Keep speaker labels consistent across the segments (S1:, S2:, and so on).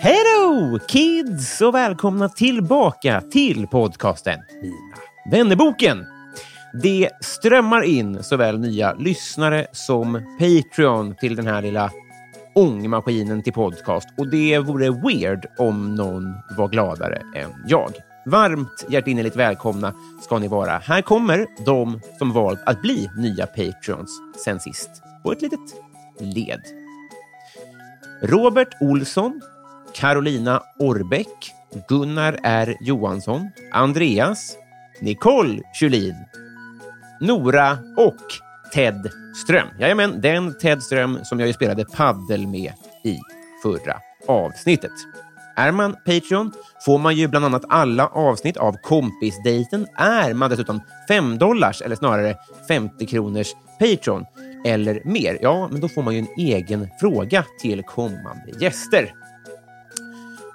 S1: Hej då, kids och välkomna tillbaka till podcasten Mina vännerboken. Det strömmar in såväl nya lyssnare som Patreon till den här lilla ångmaskinen till podcast och det vore weird om någon var gladare än jag. Varmt hjärtinnerligt välkomna ska ni vara. Här kommer de som valt att bli nya Patreons sen sist på ett litet led. Robert Olsson, Carolina Orbeck, Gunnar R Johansson, Andreas, Nicole Kjulin, Nora och Ted Ström. Jajamän, den Ted Ström som jag ju spelade paddel med i förra avsnittet. Är man Patreon får man ju bland annat alla avsnitt av Kompisdejten. Är man dessutom 5 dollars eller snarare 50 kronors Patreon eller mer, ja, men då får man ju en egen fråga till kommande gäster.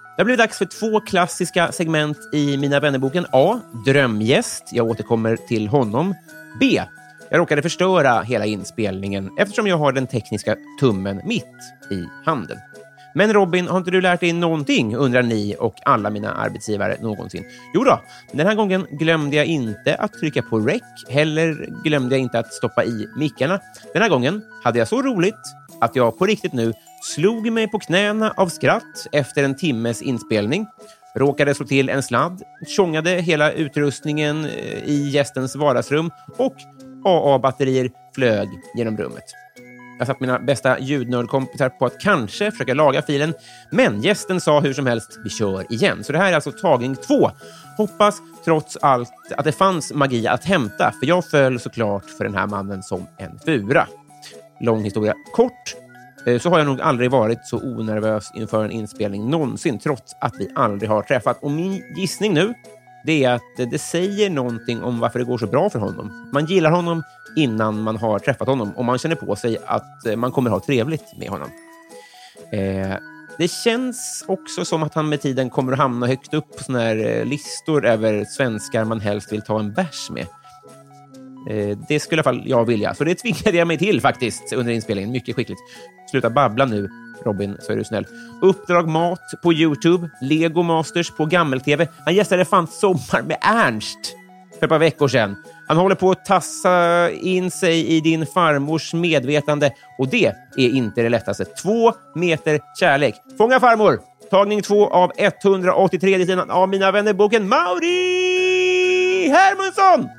S1: Det har blivit dags för två klassiska segment i Mina vännerboken. A. Drömgäst. Jag återkommer till honom. B. Jag råkade förstöra hela inspelningen eftersom jag har den tekniska tummen mitt i handen. Men Robin, har inte du lärt dig någonting, undrar ni och alla mina arbetsgivare någonsin. Jo då, men den här gången glömde jag inte att trycka på rec. Heller glömde jag inte att stoppa i mickarna. Den här gången hade jag så roligt att jag på riktigt nu slog mig på knäna av skratt efter en timmes inspelning, råkade slå till en sladd, tjongade hela utrustningen eh, i gästens vardagsrum och AA-batterier flög genom rummet. Jag satt mina bästa ljudnördkompisar på att kanske försöka laga filen, men gästen sa hur som helst vi kör igen. Så det här är alltså tagning två. Hoppas trots allt att det fanns magi att hämta, för jag föll såklart för den här mannen som en fura. Lång historia kort eh, så har jag nog aldrig varit så onervös inför en inspelning någonsin, trots att vi aldrig har träffat. Och min gissning nu, det är att eh, det säger någonting om varför det går så bra för honom. Man gillar honom innan man har träffat honom och man känner på sig att eh, man kommer ha trevligt med honom. Eh, det känns också som att han med tiden kommer att hamna högt upp på såna här eh, listor över svenskar man helst vill ta en bärs med. Eh, det skulle i alla fall jag vilja, så det tvingade jag mig till faktiskt under inspelningen. Mycket skickligt. Sluta babbla nu, Robin, så är du snäll. Uppdrag Mat på YouTube, Lego Masters på Gammel-TV. Han gästade fan Sommar med Ernst för ett par veckor sedan. Han håller på att tassa in sig i din farmors medvetande och det är inte det lättaste. Två meter kärlek. Fånga farmor! Tagning två av 183 i sidan av Mina vänner-boken Mauri Hermansson!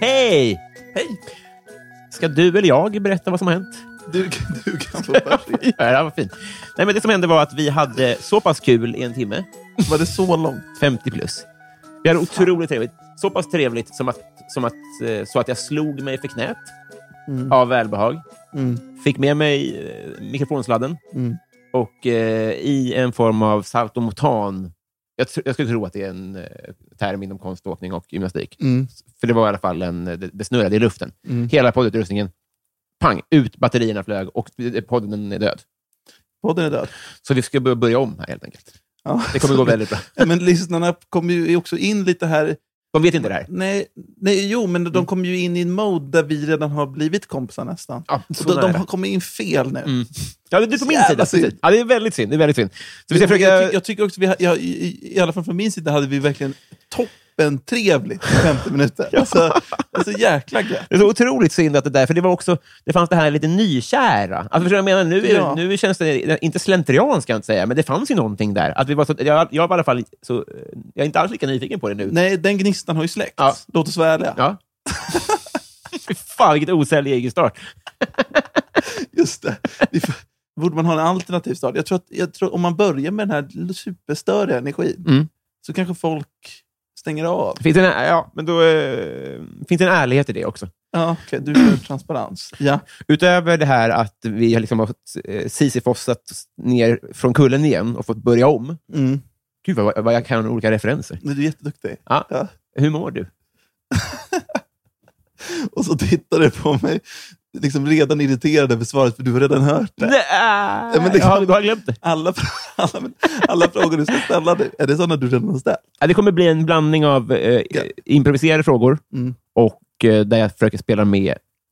S1: Hej! Hej! Ska du eller jag berätta vad som har hänt?
S2: Du, du kan få bärs i.
S1: Ja, det här var fint. Nej, men det som hände var att vi hade så pass kul i en timme,
S2: Var det så långt?
S1: 50 plus. Vi hade otroligt trevligt. Så pass trevligt som att, som att, eh, så att jag slog mig för knät
S2: Mm.
S1: av välbehag. Fick med mig eh, mikrofonsladden
S2: Mm.
S1: och eh, i en form av saltomortan. Jag, tr- jag skulle tro att det är en eh, term inom konståkning och gymnastik.
S2: mm.
S1: För det var i alla fall en, det, det snurrade i luften. Hela poddutrustningen, pang, ut batterierna flög och eh, podden är död.
S2: Podden är död.
S1: Så vi ska börja om här helt enkelt.
S2: Ja.
S1: Det kommer gå väldigt bra.
S2: Ja, Men lyssnarna kommer ju också in lite här.
S1: De vet inte det här.
S2: Nej, nej jo, men
S1: Mm.
S2: de kommer ju in i en mode där vi redan har blivit kompisar nästan.
S1: Ja, så
S2: och de,
S1: är
S2: de
S1: det. Mm.
S2: har kommit in fel nu.
S1: Ja, det är på min
S2: Jävla
S1: sida.
S2: synd.
S1: Precis. Ja, det är väldigt synd. Det är väldigt synd. Så vi ska
S2: jag,
S1: försöka...
S2: tycker, jag tycker också, vi, ha- jag, i, i alla fall från min sida, hade vi verkligen toppen trevligt i 50 minuter. Alltså, alltså jäkla gött.
S1: Det är så otroligt synd att det där, för det var också, det fanns det här lite nykära. Alltså, förstår du vad jag menar? Nu, är,
S2: Ja.
S1: nu känns det, inte slentrian ska jag inte säga, men det fanns ju någonting där. Att vi var så, jag, jag var i alla fall så, eh, jag är inte alls lika nyfiken på det nu.
S2: Nej, den gnistan har ju släckts.
S1: Ja.
S2: Låt oss vara ärliga.
S1: Ja. Fy Fan, vilket osälj egen start.
S2: Just det. Vi får- Borde man ha en alternativ start? Jag tror att jag tror, om man börjar med den här superstöriga energin,
S1: Mm.
S2: så kanske folk stänger av.
S1: Finns det en, ja, men då, eh, finns det en ärlighet i det också.
S2: Ja, okej. Du är transparens. Ja.
S1: Utöver det här att vi har liksom har fått, eh, sisyfossat ner från kullen igen och fått börja om.
S2: Mm.
S1: Gud, vad, vad jag kan olika referenser.
S2: Du är jätteduktig.
S1: Ja.
S2: Ja.
S1: Hur mår du?
S2: Och så tittar du på mig, liksom redan irriterad över svaret, för du har redan hört det.
S1: Nej,
S2: men det
S1: jag har-
S2: kan-
S1: du har glömt det.
S2: Alla, alla, alla frågor du ska ställa nu, är det sådana du redan har ställt?
S1: Ja, det kommer bli en blandning av eh,
S2: Ja.
S1: improviserade frågor
S2: Mm.
S1: och eh, där jag försöker spela med...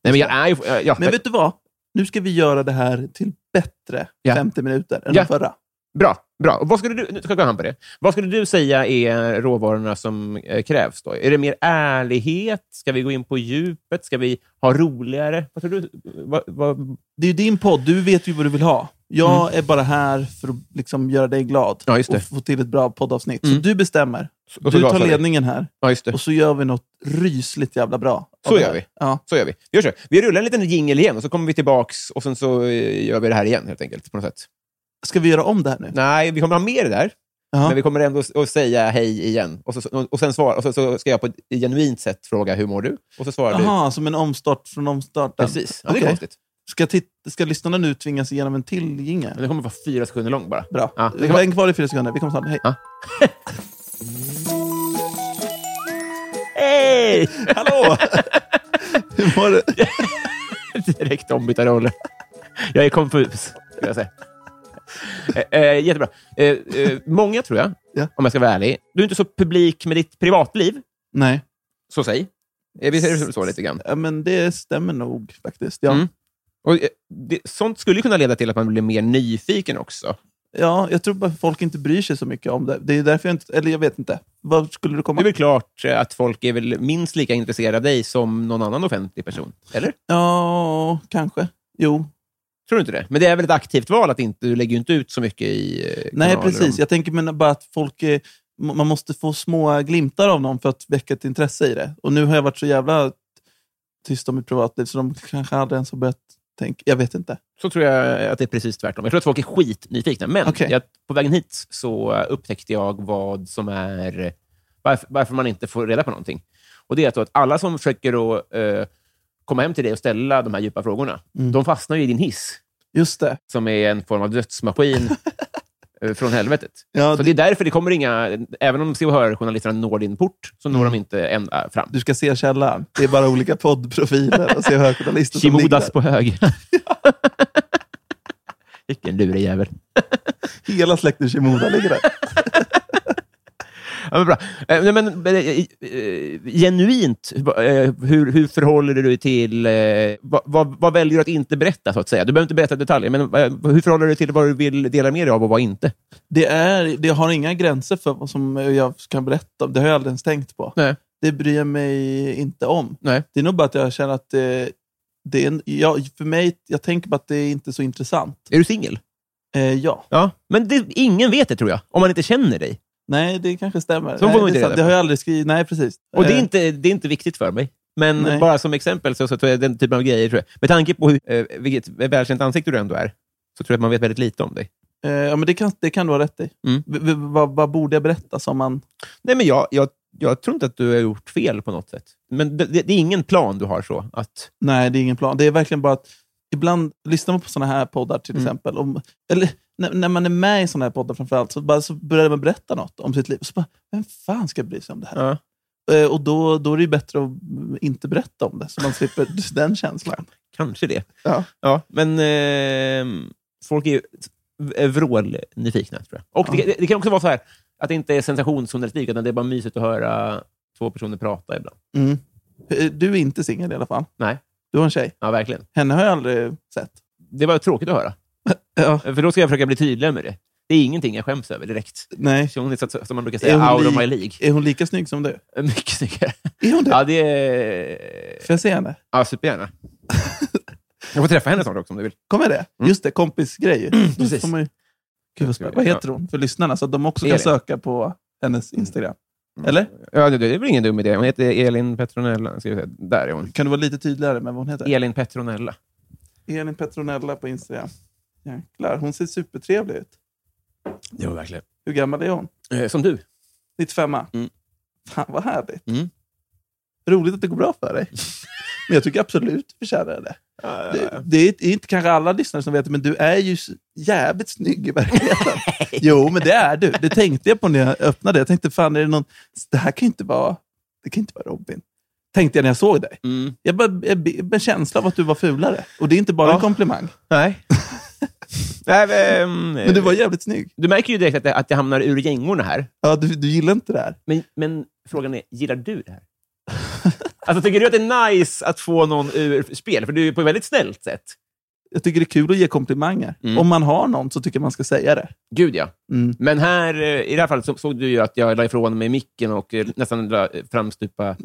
S1: Nej, men jag är ju... eh, Ja,
S2: Men vet du vad? Nu ska vi göra det här till bättre
S1: Ja.
S2: 50 minuter än
S1: Ja.
S2: den förra.
S1: Bra. bra. Och vad skulle du, nu ska jag gå hand på det. Vad skulle du säga är råvarorna som eh, krävs? Då? Är det mer ärlighet? Ska vi gå in på djupet? Ska vi ha roligare? Vad tror du? Vad, vad...
S2: Det är ju din podd. Du vet ju vad du vill ha. Jag är bara här för att liksom göra dig glad
S1: Mm. Ja, just det.
S2: och få till ett bra poddavsnitt.
S1: Mm.
S2: Så du bestämmer.
S1: Och så
S2: Du tar
S1: gasar vi.
S2: ledningen här
S1: Ja, just det.
S2: och så gör vi något rysligt jävla bra. av
S1: Så
S2: det
S1: gör
S2: här.
S1: vi.
S2: Ja.
S1: Så gör vi. Vi, gör så. vi rullar en liten jingel igen och så kommer vi tillbaks och sen så eh, gör vi det här igen helt enkelt. På något sätt.
S2: Ska vi göra om det här nu?
S1: Nej, vi kommer ha mer där.
S2: Ja.
S1: Men vi kommer ändå s- att säga hej igen. Och, så, och, sen svara, och så, så ska jag på ett genuint sätt fråga hur mår du? Och så svarar
S2: Jaha, som en omstart från
S1: du.
S2: omstarten.
S1: Precis. Ja, det är
S2: Okej.
S1: konstigt.
S2: Ska, tit- ska lyssnarna nu tvingas igenom en till jingel?
S1: Men det kommer vara fyra sekunder lång bara.
S2: Bra.
S1: Ja,
S2: Vi
S1: det
S2: har
S1: kan
S2: en kvar i fyra sekunder. Vi kommer snart. Hej.
S1: Ja. Hej!
S2: Hallå! Hur mår du?
S1: Direkt ombytta roller. Jag är konfus, skulle jag säga. Eh, eh, jättebra. Eh, eh, många, tror jag,
S2: Ja.
S1: om jag ska vara ärlig. Du är inte så publik med ditt privatliv,
S2: Nej,
S1: så säg. Eh, vi ser det så lite grann.
S2: ja, men det stämmer nog faktiskt. Ja.
S1: Mm. Och, eh, det, sånt skulle ju kunna leda till att man blir mer nyfiken också.
S2: Ja, jag tror bara folk inte bryr sig så mycket om det. Det är därför jag inte... Eller jag vet inte. Vad skulle du
S1: Det
S2: komma...
S1: är väl klart eh, att folk är väl minst lika intresserade av dig som någon annan offentlig person? Eller?
S2: Ja, kanske. Jo.
S1: Tror du inte det? Men det är väl ett aktivt val att inte, du lägger ju inte ut så mycket i eh,
S2: Nej,
S1: kanaler
S2: precis.
S1: Om...
S2: Jag tänker men bara att folk... eh, m- Man måste få små glimtar av någon för att väcka ett intresse i det. Och nu har jag varit så jävla tyst om mitt privatliv så de kanske aldrig ens har börjat tänka. Jag vet inte.
S1: Så tror jag att det är precis tvärtom. Jag tror att folk är skitnyfikna. Men
S2: Okej.
S1: jag, på vägen hit så eh, upptäckte jag vad som är... Varför, varför man inte får reda på någonting. Och Det är att då att alla som försöker att, eh, komma hem till dig och ställa de här djupa frågorna,
S2: Mm.
S1: de fastnar ju i din hiss,
S2: Just det.
S1: som är en form av dödsmaskin eh, från helvetet.
S2: Ja,
S1: Så det är därför det kommer inga... Även om Se och Hör-journalisterna når din port, så når
S2: Mm.
S1: de inte ända fram.
S2: Du ska se källan. Det är bara olika poddprofiler och se högjournalister som ligger
S1: Shimodas
S2: där.
S1: på höger. Vilken lurig jävel.
S2: Hela släkten Shimoda ligger där.
S1: Ja, men bra. Eh, nej, men, eh, eh, genuint, eh, hur, hur förhåller du dig till... Eh, vad, vad, vad väljer du att inte berätta, så att säga? Du behöver inte berätta detaljer, men eh, hur förhåller du dig till vad du vill dela med dig av och vad inte?
S2: Det, är, det har inga gränser för vad som jag kan berätta. om. Det har jag aldrig ens tänkt på.
S1: Nej.
S2: Det bryr jag mig inte om.
S1: Nej.
S2: Det är nog bara att jag känner att det, det är en, ja, för mig, jag tänker bara att det är inte så intressant.
S1: Är du singel?
S2: Eh, ja.
S1: Ja. Men det, ingen vet det, tror jag, om man inte känner dig.
S2: Nej, det kanske stämmer.
S1: Så får
S2: Nej,
S1: man
S2: det,
S1: inte
S2: är sant.
S1: reda
S2: det
S1: på.
S2: har jag aldrig skrivit. Nej, precis.
S1: alltså. Och det är,
S2: Eh,
S1: inte, det är inte viktigt för mig. Men
S2: Nej.
S1: bara som exempel, så, så tror jag den typen av grejer, tror jag. med tanke på hur, eh, vilket välkänt ansikte du ändå är, så tror jag att man vet väldigt lite om dig.
S2: eh, ja, men det, kan, det kan du ha rätt i.
S1: Mm.
S2: V- v- Vad, vad borde jag berätta? Som man,
S1: Nej, men jag, jag, jag tror inte att du har gjort fel på något sätt. Men det, det, det är ingen plan du har så. Att,
S2: nej, det är ingen plan. Det är verkligen bara att ibland lyssnar man på sådana här poddar till
S1: Mm.
S2: exempel. Om, eller när, när man är med i sådana här poddar framförallt, så, bara, så börjar man berätta något om sitt liv. Så bara, vem fan ska bry sig om det här?
S1: ja.
S2: Eh, Och då, då är det ju bättre att inte berätta om det, så man slipper den känslan.
S1: Kanske det.
S2: Ja.
S1: Ja, men eh, ehm, folk är ju v- vrålnyfikna, tror jag. Och det, det- det kan också vara så här, att det inte är sensationsjournalistik, utan det är bara mysigt att höra två personer prata ibland.
S2: Mm. Eh, Du är inte singel i alla fall.
S1: Nej.
S2: Du har en tjej.
S1: Ja, verkligen.
S2: Henne har jag aldrig sett.
S1: Det var tråkigt att höra,
S2: Ja,
S1: för då ska jag försöka bli tydligare med det. Det är ingenting jag skäms över direkt.
S2: nej.
S1: Så Hon är, så att- som man brukar
S2: Är
S1: säga,
S2: hon
S1: out of
S2: lik-
S1: my League.
S2: Är hon lika snygg som du?
S1: Mycket snyggare.
S2: Är hon det?
S1: Ja, det är...
S2: Får jag se henne?
S1: Ja, supergärna. Jag får träffa henne snart också om du vill.
S2: Kommer det? Just det, kompisgrej. Då
S1: Mm. precis.
S2: får man ju- Gud, vad, spännande. vad heter hon för lyssnarna? Så att de också kan
S1: Elin. Mm.
S2: söka på hennes Instagram. Eller?
S1: Ja, det, det är väl ingen dum idé. Hon heter Elin Petronella. Ska vi säga. Där är hon.
S2: Kan du vara lite tydligare med vad hon heter?
S1: Elin Petronella.
S2: Elin Petronella på Instagram. Jäklar, hon ser supertrevlig ut.
S1: Det var verkligen.
S2: Hur gammal är hon?
S1: Eh, som du.
S2: 95?
S1: Mm.
S2: Fan, vad härligt.
S1: Mm.
S2: Roligt att det går bra för dig. Men jag tycker absolut du förtjänar det. det. Det är inte kanske alla lyssnare som vet det, men du är ju s- jävligt snygg i verkligheten. jo, men det är du. Det tänkte jag på när jag öppnade. Jag tänkte, fan, är det någon... Det här kan ju inte vara... Det kan ju inte vara Robin. Tänkte jag när jag såg dig.
S1: Mm.
S2: Jag bara jag, jag, en känsla av att du var fulare. Och det är inte bara
S1: Ja.
S2: en komplimang.
S1: Nej. Nej men, ehm,
S2: Men du var jävligt snygg.
S1: du märker ju direkt att, det, att jag hamnar ur gängorna här.
S2: Ja, du, du gillar inte det här.
S1: Men, men frågan är, gillar du det här? Alltså, tycker du att det är nice att få någon ur spel? För du är ju på ett väldigt snällt sätt.
S2: Jag tycker det är kul att ge komplimanger.
S1: Mm.
S2: Om man har någon så tycker jag man ska säga det.
S1: Gud, ja.
S2: Mm.
S1: Men här, eh, i det här fallet så, såg du ju att jag la ifrån mig micken och eh, nästan la, framstupa...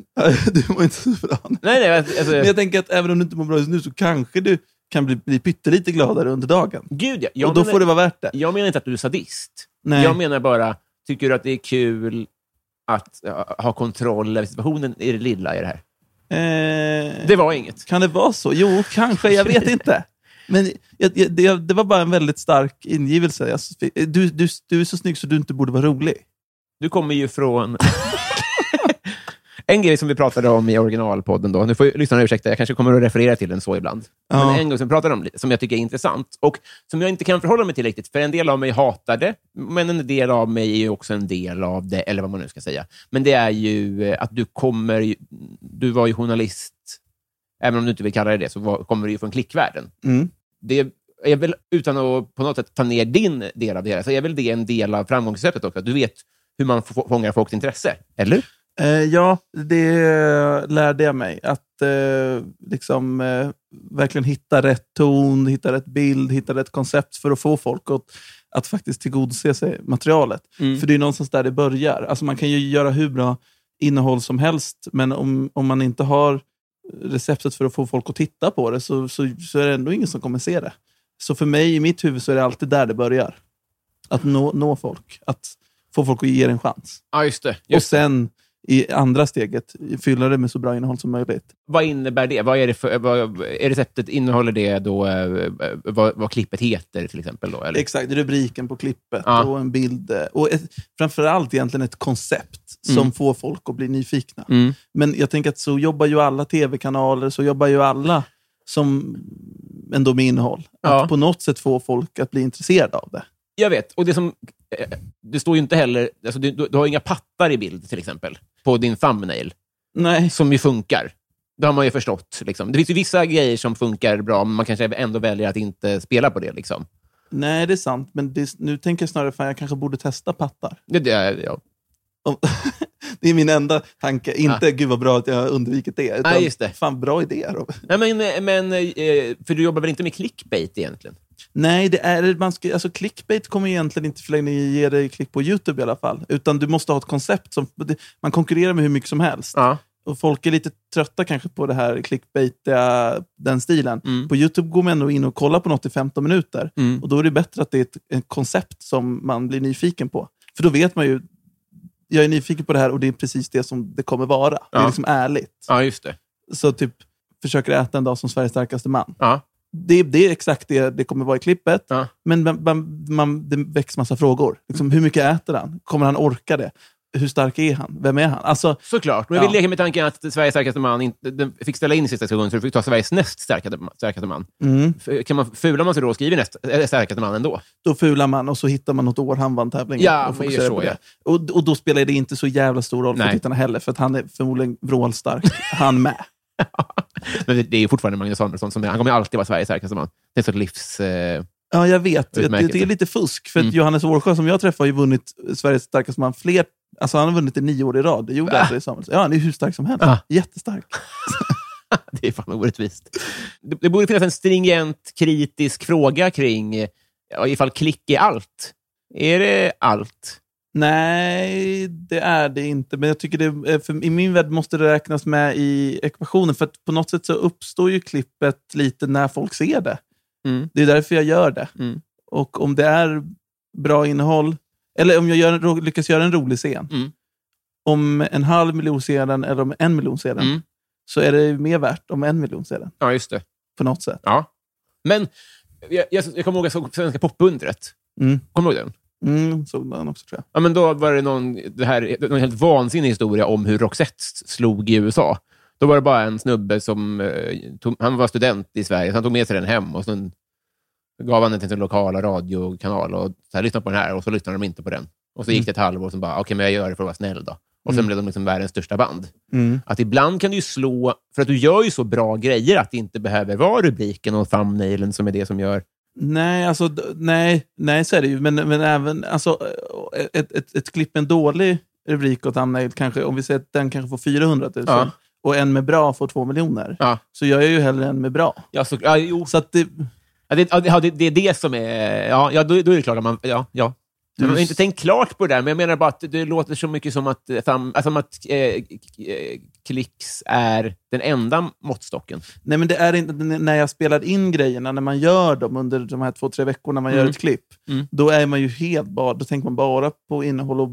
S2: Du mår inte så bra nu.
S1: Nej, nej. Alltså,
S2: Men jag tänker att även om du inte mår bra just nu så kanske du kan bli, bli pyttelite gladare under dagen.
S1: Gud, ja. Jag
S2: och då
S1: menar-
S2: får det vara värt det.
S1: Jag menar inte att du är sadist.
S2: Nej.
S1: Jag menar bara, tycker du att det är kul att ja, ha kontroll över situationen i det lilla i det här?
S2: Eh,
S1: Det var inget.
S2: Kan det vara så? Jo, kanske. Jag vet inte. Men jag, jag, det, det var bara en väldigt stark ingivelse. Jag, du, du, du är så snygg så du inte borde vara rolig.
S1: Du kommer ju från... en grej som vi pratade om i originalpodden, då. nu får ju lyssnarna ursäkta, jag kanske kommer att referera till den så ibland.
S2: Ja.
S1: Men en grej som vi pratade om, som jag tycker är intressant och som jag inte kan förhålla mig till riktigt, för en del av mig hatar det, men en del av mig är ju också en del av det, eller vad man nu ska säga. Men det är ju eh, att du kommer... ju- Du var ju journalist, även om du inte vill kalla det det, så var, kommer du ju från klickvärlden.
S2: Mm.
S1: det är väl, utan att på något sätt ta ner din del av det hela, så är väl det en del av framgångsreceptet också. Att du vet hur man få- fångar folks intresse, eller?
S2: Eh, ja, det lärde jag mig. Att eh, liksom, eh, verkligen hitta rätt ton, hitta rätt bild, hitta rätt koncept för att få folk att, att faktiskt tillgodose sig materialet. För det är någonstans där det börjar. Alltså man kan ju göra hur bra innehåll som helst, men om, om man inte har receptet för att få folk att titta på det så, så, så är det ändå ingen som kommer se det. Så för mig, i mitt huvud, så är det alltid där det börjar. Att nå, nå folk. Att få folk att ge det en chans.
S1: Ja, just det.
S2: och sen i andra steget, fylla det med så bra innehåll som möjligt.
S1: Vad innebär det? Vad är, det för, vad, är receptet, innehåller det då eh, eh, vad, vad klippet heter, till exempel? Då, eller?
S2: Exakt, rubriken på klippet
S1: Ja.
S2: och en bild. eh, Och ett, framförallt egentligen ett koncept som
S1: Mm.
S2: får folk att bli nyfikna.
S1: Mm.
S2: Men jag tänker att så jobbar ju alla tv-kanaler, så jobbar ju alla som ändå med innehåll. Att
S1: Ja.
S2: på något sätt få folk att bli intresserade av det.
S1: Jag vet. Och det som... eh, Det står ju inte heller... Alltså du, du du har inga pattar i bild, till exempel, på din thumbnail.
S2: Nej.
S1: som ju funkar. Det har man ju förstått. Liksom. Det finns ju vissa grejer som funkar bra, men man kanske ändå väljer att inte spela på det. Liksom.
S2: Nej, det är sant. Men det, nu tänker jag snarare att jag kanske borde testa pattar.
S1: Det, det, är- ja.
S2: Om- det är min enda tanke. Inte gud vad bra att jag har undvikit det. Utan,
S1: Nej, just det.
S2: Fan, bra idé Robin.
S1: Nej, men, eh, men, eh, för du jobbar väl inte med clickbait egentligen?
S2: Nej, det är, man ska, alltså clickbait kommer egentligen inte i förlängningen ge dig klick på YouTube i alla fall. Utan du måste ha ett koncept. som det, Man konkurrerar med hur mycket som helst.
S1: Ja.
S2: Och folk är lite trötta kanske på det här clickbaitiga, den stilen.
S1: Mm.
S2: På YouTube går man ändå in och kollar på något i 15 minuter.
S1: Mm.
S2: Och Då är det bättre att det är ett, ett koncept som man blir nyfiken på. För då vet man ju, jag är nyfiken på det här och det är precis det som det kommer vara. Det
S1: Ja.
S2: är liksom ärligt.
S1: ja, just det.
S2: Så typ, försöker äta en dag som Sveriges starkaste man.
S1: Ja.
S2: Det, det är exakt det det kommer vara i klippet.
S1: Ja.
S2: Men man, man, man, det väcks massa frågor. Liksom, hur mycket äter han? Kommer han orka det? Hur stark är han? Vem är han? Alltså,
S1: Såklart. Men
S2: Ja.
S1: vi leker med tanken att Sveriges starkaste man inte, den fick ställa in i sista sekunden, så du fick ta Sveriges näst starkaste, starkaste man.
S2: mm.
S1: F- Kan man, fular man sig då och skriver näst eh, starkaste man ändå?
S2: då fular man och så hittar man något år han vann tävlingen.
S1: Ja, men
S2: och fokuserar
S1: gör så,
S2: på
S1: ja.
S2: det. Och, och då spelar det inte så jävla stor roll
S1: Nej.
S2: för tittarna heller, för att han är förmodligen vrålstark, han med.
S1: Men det- det är ju fortfarande Magnus Samuelsson. Som är, han kommer ju alltid vara Sveriges starkaste man. Det är ett sorts livs... Eh,
S2: Ja, jag vet. Det,
S1: Utmärkelse.
S2: det är lite fusk. För att
S1: Mm.
S2: Johannes Vårsjö som jag träffade har ju vunnit Sveriges starkaste man fler... Alltså han har vunnit det nio år i rad. Det gjorde
S1: Ah.
S2: André Samuelsson. Ja, han är hur stark som helst.
S1: Ah.
S2: Jättestark.
S1: Det är fan orättvist. Det, det borde finnas en stringent kritisk fråga kring ja, ifall klick är allt. Är det allt?
S2: Nej, det är det inte. Men jag tycker det, eh, för i min värld måste det räknas med i ekvationen. För att på något sätt så uppstår ju klippet lite när folk ser det.
S1: Mm.
S2: Det är därför jag gör det.
S1: Mm.
S2: Och om det är bra innehåll, eller om jag gör, en ro- lyckas göra en rolig scen,
S1: Mm.
S2: om en halv miljon ser den eller om en miljon ser den,
S1: Mm.
S2: så är det mer värt om en miljon ser den.
S1: Ja, just det.
S2: På något sätt.
S1: Ja. Men jag, jag, jag kommer ihåg att jag såg Svenska popundret.
S2: Mm.
S1: Kommer du ihåg den?
S2: Mm, såg man också tror jag.
S1: Ja, men då var det någon, det här, någon helt vansinnig historia om hur Roxette slog i USA. Då var det bara en snubbe som eh, tog, han var student i Sverige, så han tog med sig den hem och sen gav han den till sin lokala radiokanal och så här, lyssna på den här och så lyssnade de inte på den. Och så gick det ett halvår och så bara, okej, men jag gör det för att vara snäll då. Och sen blev de liksom världens största band. Att ibland kan du ju slå, för att du gör ju så bra grejer att det inte behöver vara rubriken och thumbnailen som är det som gör...
S2: Nej, alltså, d- nej, nej, så är det ju. Men, men även alltså, eh, ett, ett, ett klipp med en dålig rubrik åt Anna kanske, om vi säger att den kanske får 400 000
S1: Ja.
S2: och en med bra får 2 miljoner,
S1: Ja.
S2: så gör jag ju hellre en med bra.
S1: Ja, så, ja, jo.
S2: Så att det,
S1: Ja, det, ja, det- ja, det, det är det som är... Ja, ja då, då är det klart att man... Ja, ja. Men man har inte
S2: Mm.
S1: tänkt klart på det där, men jag menar bara att det låter så mycket som att, eh, fram, alltså, som att eh, k- eh, klicks är den enda måttstocken.
S2: Nej, men det är inte, n- när jag spelar in grejerna, när man gör dem under de här två, tre veckorna man gör ett klipp,
S1: Mm.
S2: då är man ju helt bara, då tänker man bara på innehåll och...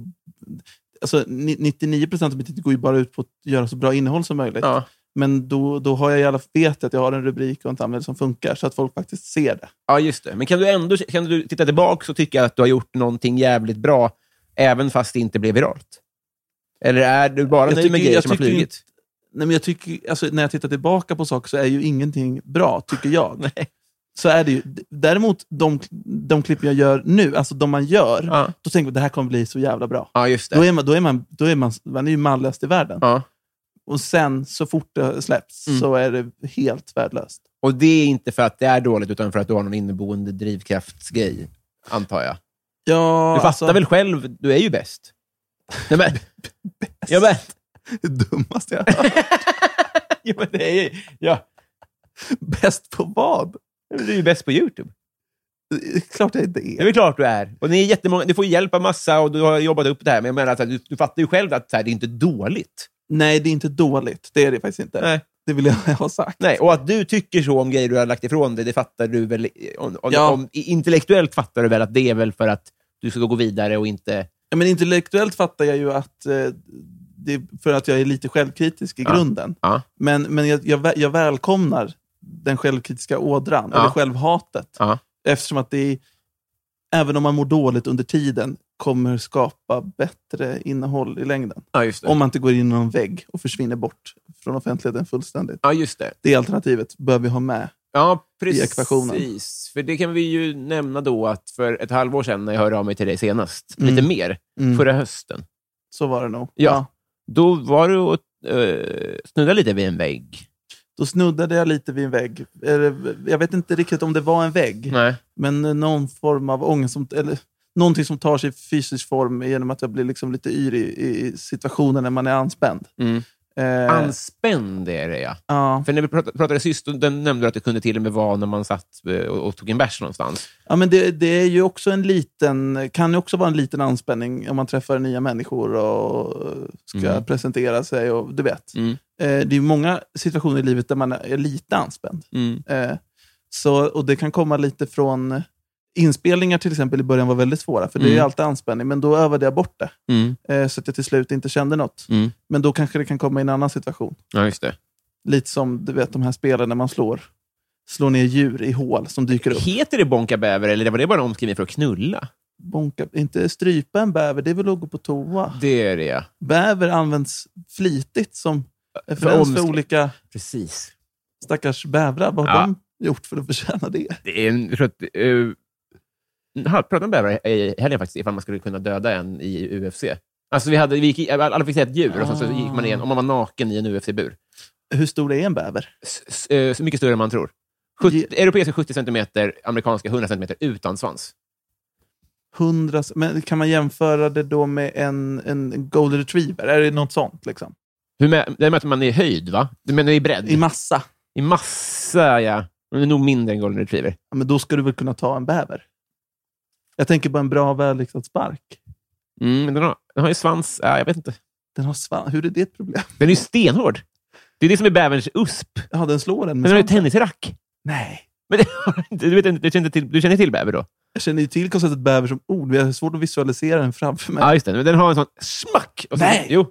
S2: Alltså, ni- 99 procent av mitt går ju bara ut på att göra så bra innehåll som möjligt.
S1: Ja.
S2: Men då, då har jag i alla fall vet jag att jag har en rubrik och en thumbnail som funkar, så att folk faktiskt ser det.
S1: ja, just det. Men kan du ändå kan du titta tillbaka och tycka att du har gjort någonting jävligt bra, även fast det inte blev viralt? Eller är du bara
S2: Jag
S1: nöjd med
S2: tycker-
S1: grejer
S2: jag
S1: som har
S2: tycker
S1: flugit?
S2: inte- Nej, men jag tycker, alltså, när jag tittar tillbaka på saker så är ju ingenting bra, tycker jag. Så är det ju. D- Däremot de, de klipp jag gör nu, alltså de man gör,
S1: Ja.
S2: då tänker man att det här kommer bli så jävla bra.
S1: ja, just
S2: Då
S1: det.
S2: är man, då är man, då är man, man är ju malligast i världen.
S1: Ja.
S2: Och sen, så fort det släpps,
S1: Mm.
S2: så är det helt värdelöst.
S1: Och det är inte för att det är dåligt, utan för att du har någon inneboende drivkraftsgrej, antar jag.
S2: Ja, alltså,
S1: Du fattar väl själv, du är ju bäst. Nej, men, ja, men,
S2: Det dummaste jag har hört.
S1: ja, men det är, ja,
S2: Bäst på vad?
S1: du är ju bäst på YouTube.
S2: Det är Klart jag inte
S1: Det är
S2: är.
S1: väl klart du är. Och ni är jättemånga, du får hjälp av massa och du har jobbat upp det här. Men jag menar, alltså, du, du fattar ju själv att så här, det är inte dåligt.
S2: Nej, det är inte dåligt. Det är det faktiskt inte.
S1: Nej.
S2: Det vill jag ha sagt.
S1: Nej, och att du tycker så om grejer du har lagt ifrån dig, det fattar du väl... Om, om,
S2: Ja.
S1: om, intellektuellt fattar du väl att det är väl för att du ska gå vidare och inte...
S2: Ja, Men intellektuellt fattar jag ju att eh, det är för att jag är lite självkritisk i
S1: Ja.
S2: grunden.
S1: Ja.
S2: Men, men jag, jag, vä- jag välkomnar den självkritiska ådran,
S1: Ja.
S2: eller självhatet.
S1: Ja.
S2: Eftersom att det, är- även om man mår dåligt under tiden, kommer skapa bättre innehåll i längden.
S1: Ja, just
S2: Om man inte går in i någon vägg och försvinner bort från offentligheten fullständigt.
S1: Ja, just det.
S2: Det alternativet bör vi ha med.
S1: Ja, precis.
S2: ekvationen.
S1: För det kan vi ju nämna då att för ett halvår sedan när jag hörde av mig till dig senast,
S2: Mm.
S1: lite mer,
S2: Mm.
S1: förra hösten,
S2: Så var det nog.
S1: Ja. då var du och eh, snuddade lite vid en vägg.
S2: Då snuddade jag lite vid en vägg. Eller, Jag vet inte riktigt om det var en vägg.
S1: Nej.
S2: Men eh, någon form av ångest, som, eller någonting som tar sig fysisk form genom att jag blir liksom lite yr i, i situationen när man är anspänd.
S1: Mm.
S2: Eh,
S1: Anspänd är det, ja.
S2: ja.
S1: För när vi pratade, pratade sist, då nämnde du att det kunde till och med vara när man satt eh, och, och tog en bärs någonstans.
S2: ja, men det, det är ju också en liten, kan ju också vara en liten anspänning om man träffar nya människor och eh, ska
S1: Mm.
S2: presentera sig. Och, du vet.
S1: Mm.
S2: Eh, det är ju många situationer i livet där man är, är lite anspänd.
S1: Mm.
S2: Eh, så, och Det kan komma lite från inspelningar till exempel i början var väldigt svåra, för det är ju
S1: Mm.
S2: alltid anspänning, men då övade jag bort det.
S1: Mm.
S2: eh, så att jag till slut inte kände något.
S1: Mm.
S2: Men då kanske det kan komma i en annan situation.
S1: Ja, just det.
S2: Lite som du vet, de här spelen när man slår, slår ner djur i hål som dyker upp.
S1: Heter det bonka bäver eller var det bara en omskrivning för att knulla?
S2: Bonka, inte strypa en bäver, det är väl att gå på toa.
S1: Det är det, ja.
S2: Bäver används flitigt som referens för
S1: omsk-
S2: olika
S1: Precis.
S2: stackars bävrar. Vad har
S1: Ja.
S2: de gjort för att förtjäna det?
S1: Det är en, jag tror att, uh, jag pratade om bävrar i helgen faktiskt, ifall man skulle kunna döda en i UFC. Alltså vi hade, vi gick, i- alla fick se ett djur och så, så gick man igen, om man var naken i en UFC-bur.
S2: Hur stor är en bäver?
S1: S- s- eh, Så mycket större än man tror. 70, Europeiska 70 centimeter, amerikanska 100 centimeter utan svans.
S2: 100, men kan man jämföra det då med en, en golden retriever? Är det något sånt? Liksom?
S1: Hur mä- det mäter man i höjd, va? Du menar i bredd?
S2: I massa?
S1: I massa, ja. Den är nog mindre än golden retriever.
S2: Ja, men då ska du väl kunna ta en bäver? Jag tänker på en bra välriktad spark.
S1: Mm, men den, har, den har ju svans. Ja, jag vet inte.
S2: Den har svan. Hur är det ett problem?
S1: Den är ju stenhård. Det är det som är bäverns usp.
S2: Ja, den slår en
S1: Men
S2: med
S1: den har ju
S2: svansen.
S1: tennisrack.
S2: Nej.
S1: Men det har inte- du, vet, inte- du, känner till, du känner till bäver då?
S2: Jag känner ju till konceptet bäver som ord, men jag har svårt att visualisera den framför mig.
S1: Ja, just det. Men den har en sån smack. Och så-
S2: Nej.
S1: Jo.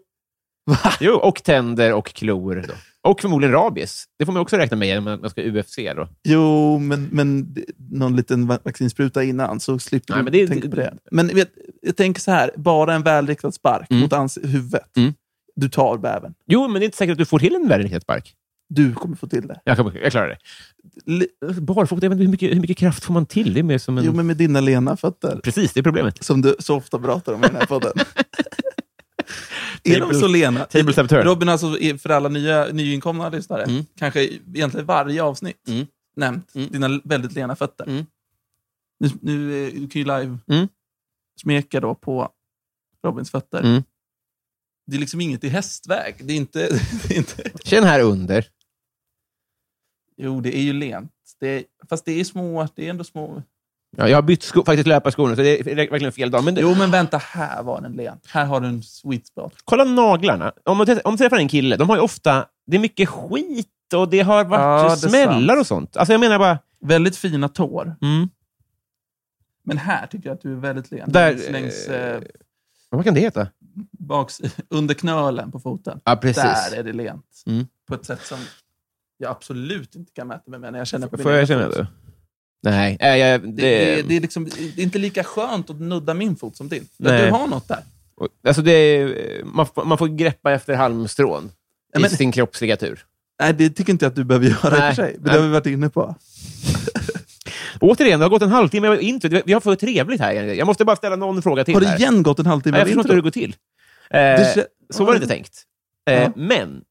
S1: jo, och tänder och klor. Då. Och förmodligen rabies. Det får man också räkna med när man ska UFC. Då.
S2: Jo, men, men det- någon liten va- vaccinspruta innan, så slipper
S1: Nej,
S2: du
S1: men det-
S2: tänka på det. Men vet, jag tänker så här, bara en välriktad spark
S1: Mm.
S2: mot ans- huvudet.
S1: Mm.
S2: Du tar bävern.
S1: Jo, men det är inte säkert att du får till en världenspark.
S2: Du kommer få till det.
S1: Jag, kan- jag klarar det.
S2: Li-
S1: Barfota, jag vet inte hur mycket, hur mycket kraft får man till? Det är mer som en...
S2: Jo, men med dina lena fötter,
S1: Precis, det är problemet.
S2: som du så ofta pratar om i den här podden. är de så lena?
S1: Table step turn.
S2: Robin har alltså är för alla nya, nyinkomna lyssnare,
S1: Mm.
S2: kanske egentligen varje avsnitt
S1: Mm.
S2: nämnt
S1: Mm.
S2: dina väldigt lena fötter.
S1: Mm.
S2: Nu, nu eh, du kan ju live
S1: Mm.
S2: smeka då på Robins fötter.
S1: Mm.
S2: Det är liksom inget i hästväg. Det är inte, det är inte,
S1: Känn här under.
S2: jo, det är ju lent. Det är, fast det är små, det är ändå små.
S1: Ja, jag har bytt sko, faktiskt löparskorna, så det är verkligen fel dag. Men det,
S2: Jo, men vänta, här var den len. Här har du en sweet spot.
S1: kolla naglarna. Om man, träffar- om man träffar en kille, de har ju ofta... Det är mycket skit och det har varit
S2: Ja, det är
S1: smällar och sånt. Alltså, jag menar bara...
S2: Väldigt fina tår. Men här tycker jag att du är väldigt len.
S1: Där,
S2: längs längs
S1: eh,
S2: eh,
S1: Vad kan det heta?
S2: baks, under knölen på foten.
S1: Ja, precis.
S2: Där är det lent.
S1: Mm.
S2: På ett sätt som jag absolut inte kan mäta mig med när jag känner på min
S1: Får jag
S2: egen
S1: känna
S2: fot.
S1: det? Nej, äh, jag, det,
S2: Det, det, är- det, är liksom, det är inte lika skönt att nudda min fot som din. För att
S1: Nej.
S2: Du har något där.
S1: alltså det är, man, får- man får greppa efter halmstrån
S2: Ja,
S1: i
S2: men-
S1: sin kroppsliga tur.
S2: Nej, det tycker inte jag att du behöver göra
S1: Nej. Nej.
S2: vi varit inne på.
S1: Återigen, det har gått en halvtimme av intro. Vi har för trevligt här. egentligen. Jag måste bara ställa någon fråga till.
S2: Har det
S1: här.
S2: igen gått en halvtimme
S1: Nej, jag
S2: av
S1: förstår inte
S2: intro?
S1: hur det går till. Eh,
S2: Det kä-
S1: så var det inte tänkt. Eh,
S2: Ja.
S1: Men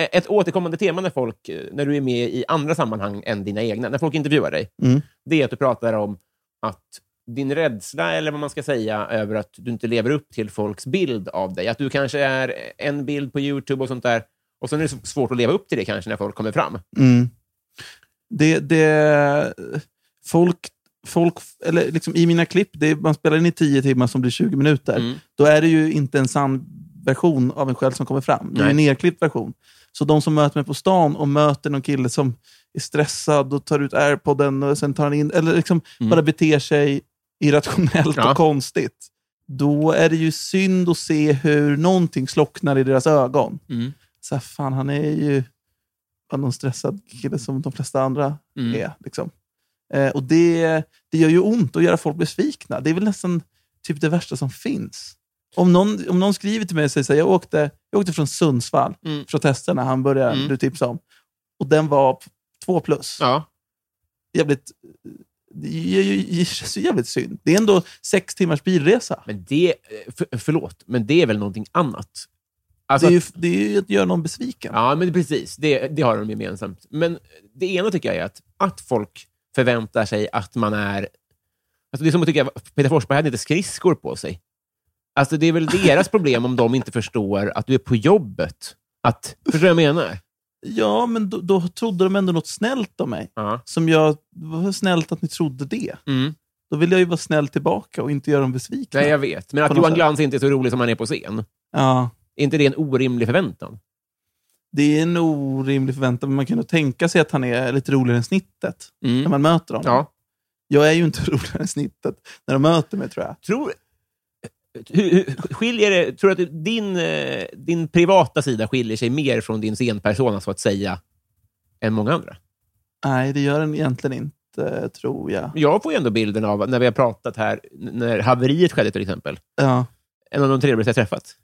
S1: eh, ett återkommande tema när, folk, eh, när du är med i andra sammanhang än dina egna, när folk intervjuar dig,
S2: Mm.
S1: det är att du pratar om att din rädsla, eller vad man ska säga, över att du inte lever upp till folks bild av dig. Att du kanske är en bild på YouTube och sånt där. Och sen är det så svårt att leva upp till det kanske när folk kommer fram.
S2: Mm. Det, det, eh, folk, folk, eller liksom i mina klipp, det, är- man spelar in i 10 timmar som blir 20 minuter.
S1: Mm.
S2: Då är det ju inte en sann version av en själv som kommer fram. Det är ju en nerklippt version. Så de som möter mig på stan och möter någon kille som är stressad och tar ut airpodden och sen tar han in, eller liksom
S1: Mm.
S2: bara beter sig irrationellt
S1: Ja.
S2: och konstigt. Då är det ju synd att se hur någonting slocknar i deras ögon.
S1: Mm.
S2: Så här, fan, han är ju bara någon stressad kille som de flesta andra
S1: Mm.
S2: är. Liksom. Eh, och det, det gör ju ont att göra folk besvikna. Det är väl nästan typ det värsta som finns. Om någon, om någon skriver till mig och säger så här, jag åkte, jag åkte från Sundsvall,
S1: Mm.
S2: protesterna han började,
S1: Mm.
S2: du tipsade om, och den var p- två plus.
S1: Ja.
S2: Jävligt, det gör ju- det känns ju jävligt synd. Det är ändå sex timmars bilresa.
S1: Men det, eh, för, förlåt, men det är väl någonting annat?
S2: Det
S1: Alltså
S2: är ju, det är ju att göra någon besviken.
S1: Ja, men precis. Det, det har de gemensamt. Men det ena tycker jag är att, att folk förväntar sig att man är... Alltså det är som att tycka att Peter Forsberg hade inte skridskor på sig. Alltså det är väl deras problem om de inte förstår att du är på jobbet. Att, förstår du vad jag menar?
S2: Ja, men då, då trodde de ändå något snällt om mig.
S1: Ja.
S2: Som jag, vad snällt att ni trodde det.
S1: Mm.
S2: Då vill jag ju vara snäll tillbaka och inte göra dem besvikna.
S1: Nej, jag vet. Men
S2: På
S1: att
S2: något
S1: Johan
S2: sätt.
S1: Glans inte är så rolig som han är på scen,
S2: ja,
S1: är inte det en orimlig förväntan?
S2: det är en orimlig förväntan, men man kan nog tänka sig att han är lite roligare än snittet när man möter honom.
S1: Ja.
S2: Jag är ju inte roligare än snittet när de möter mig, tror jag.
S1: Tror, hur, hur, skiljer det, tror du att din, eh, din privata sida skiljer sig mer från din scenpersona, så att säga, än många andra?
S2: Nej, det gör den egentligen inte, tror jag.
S1: Jag får ju ändå bilden av, när vi har pratat här, n- när haveriet skedde till exempel,
S2: Ja,
S1: en av de trevligaste jag träffat.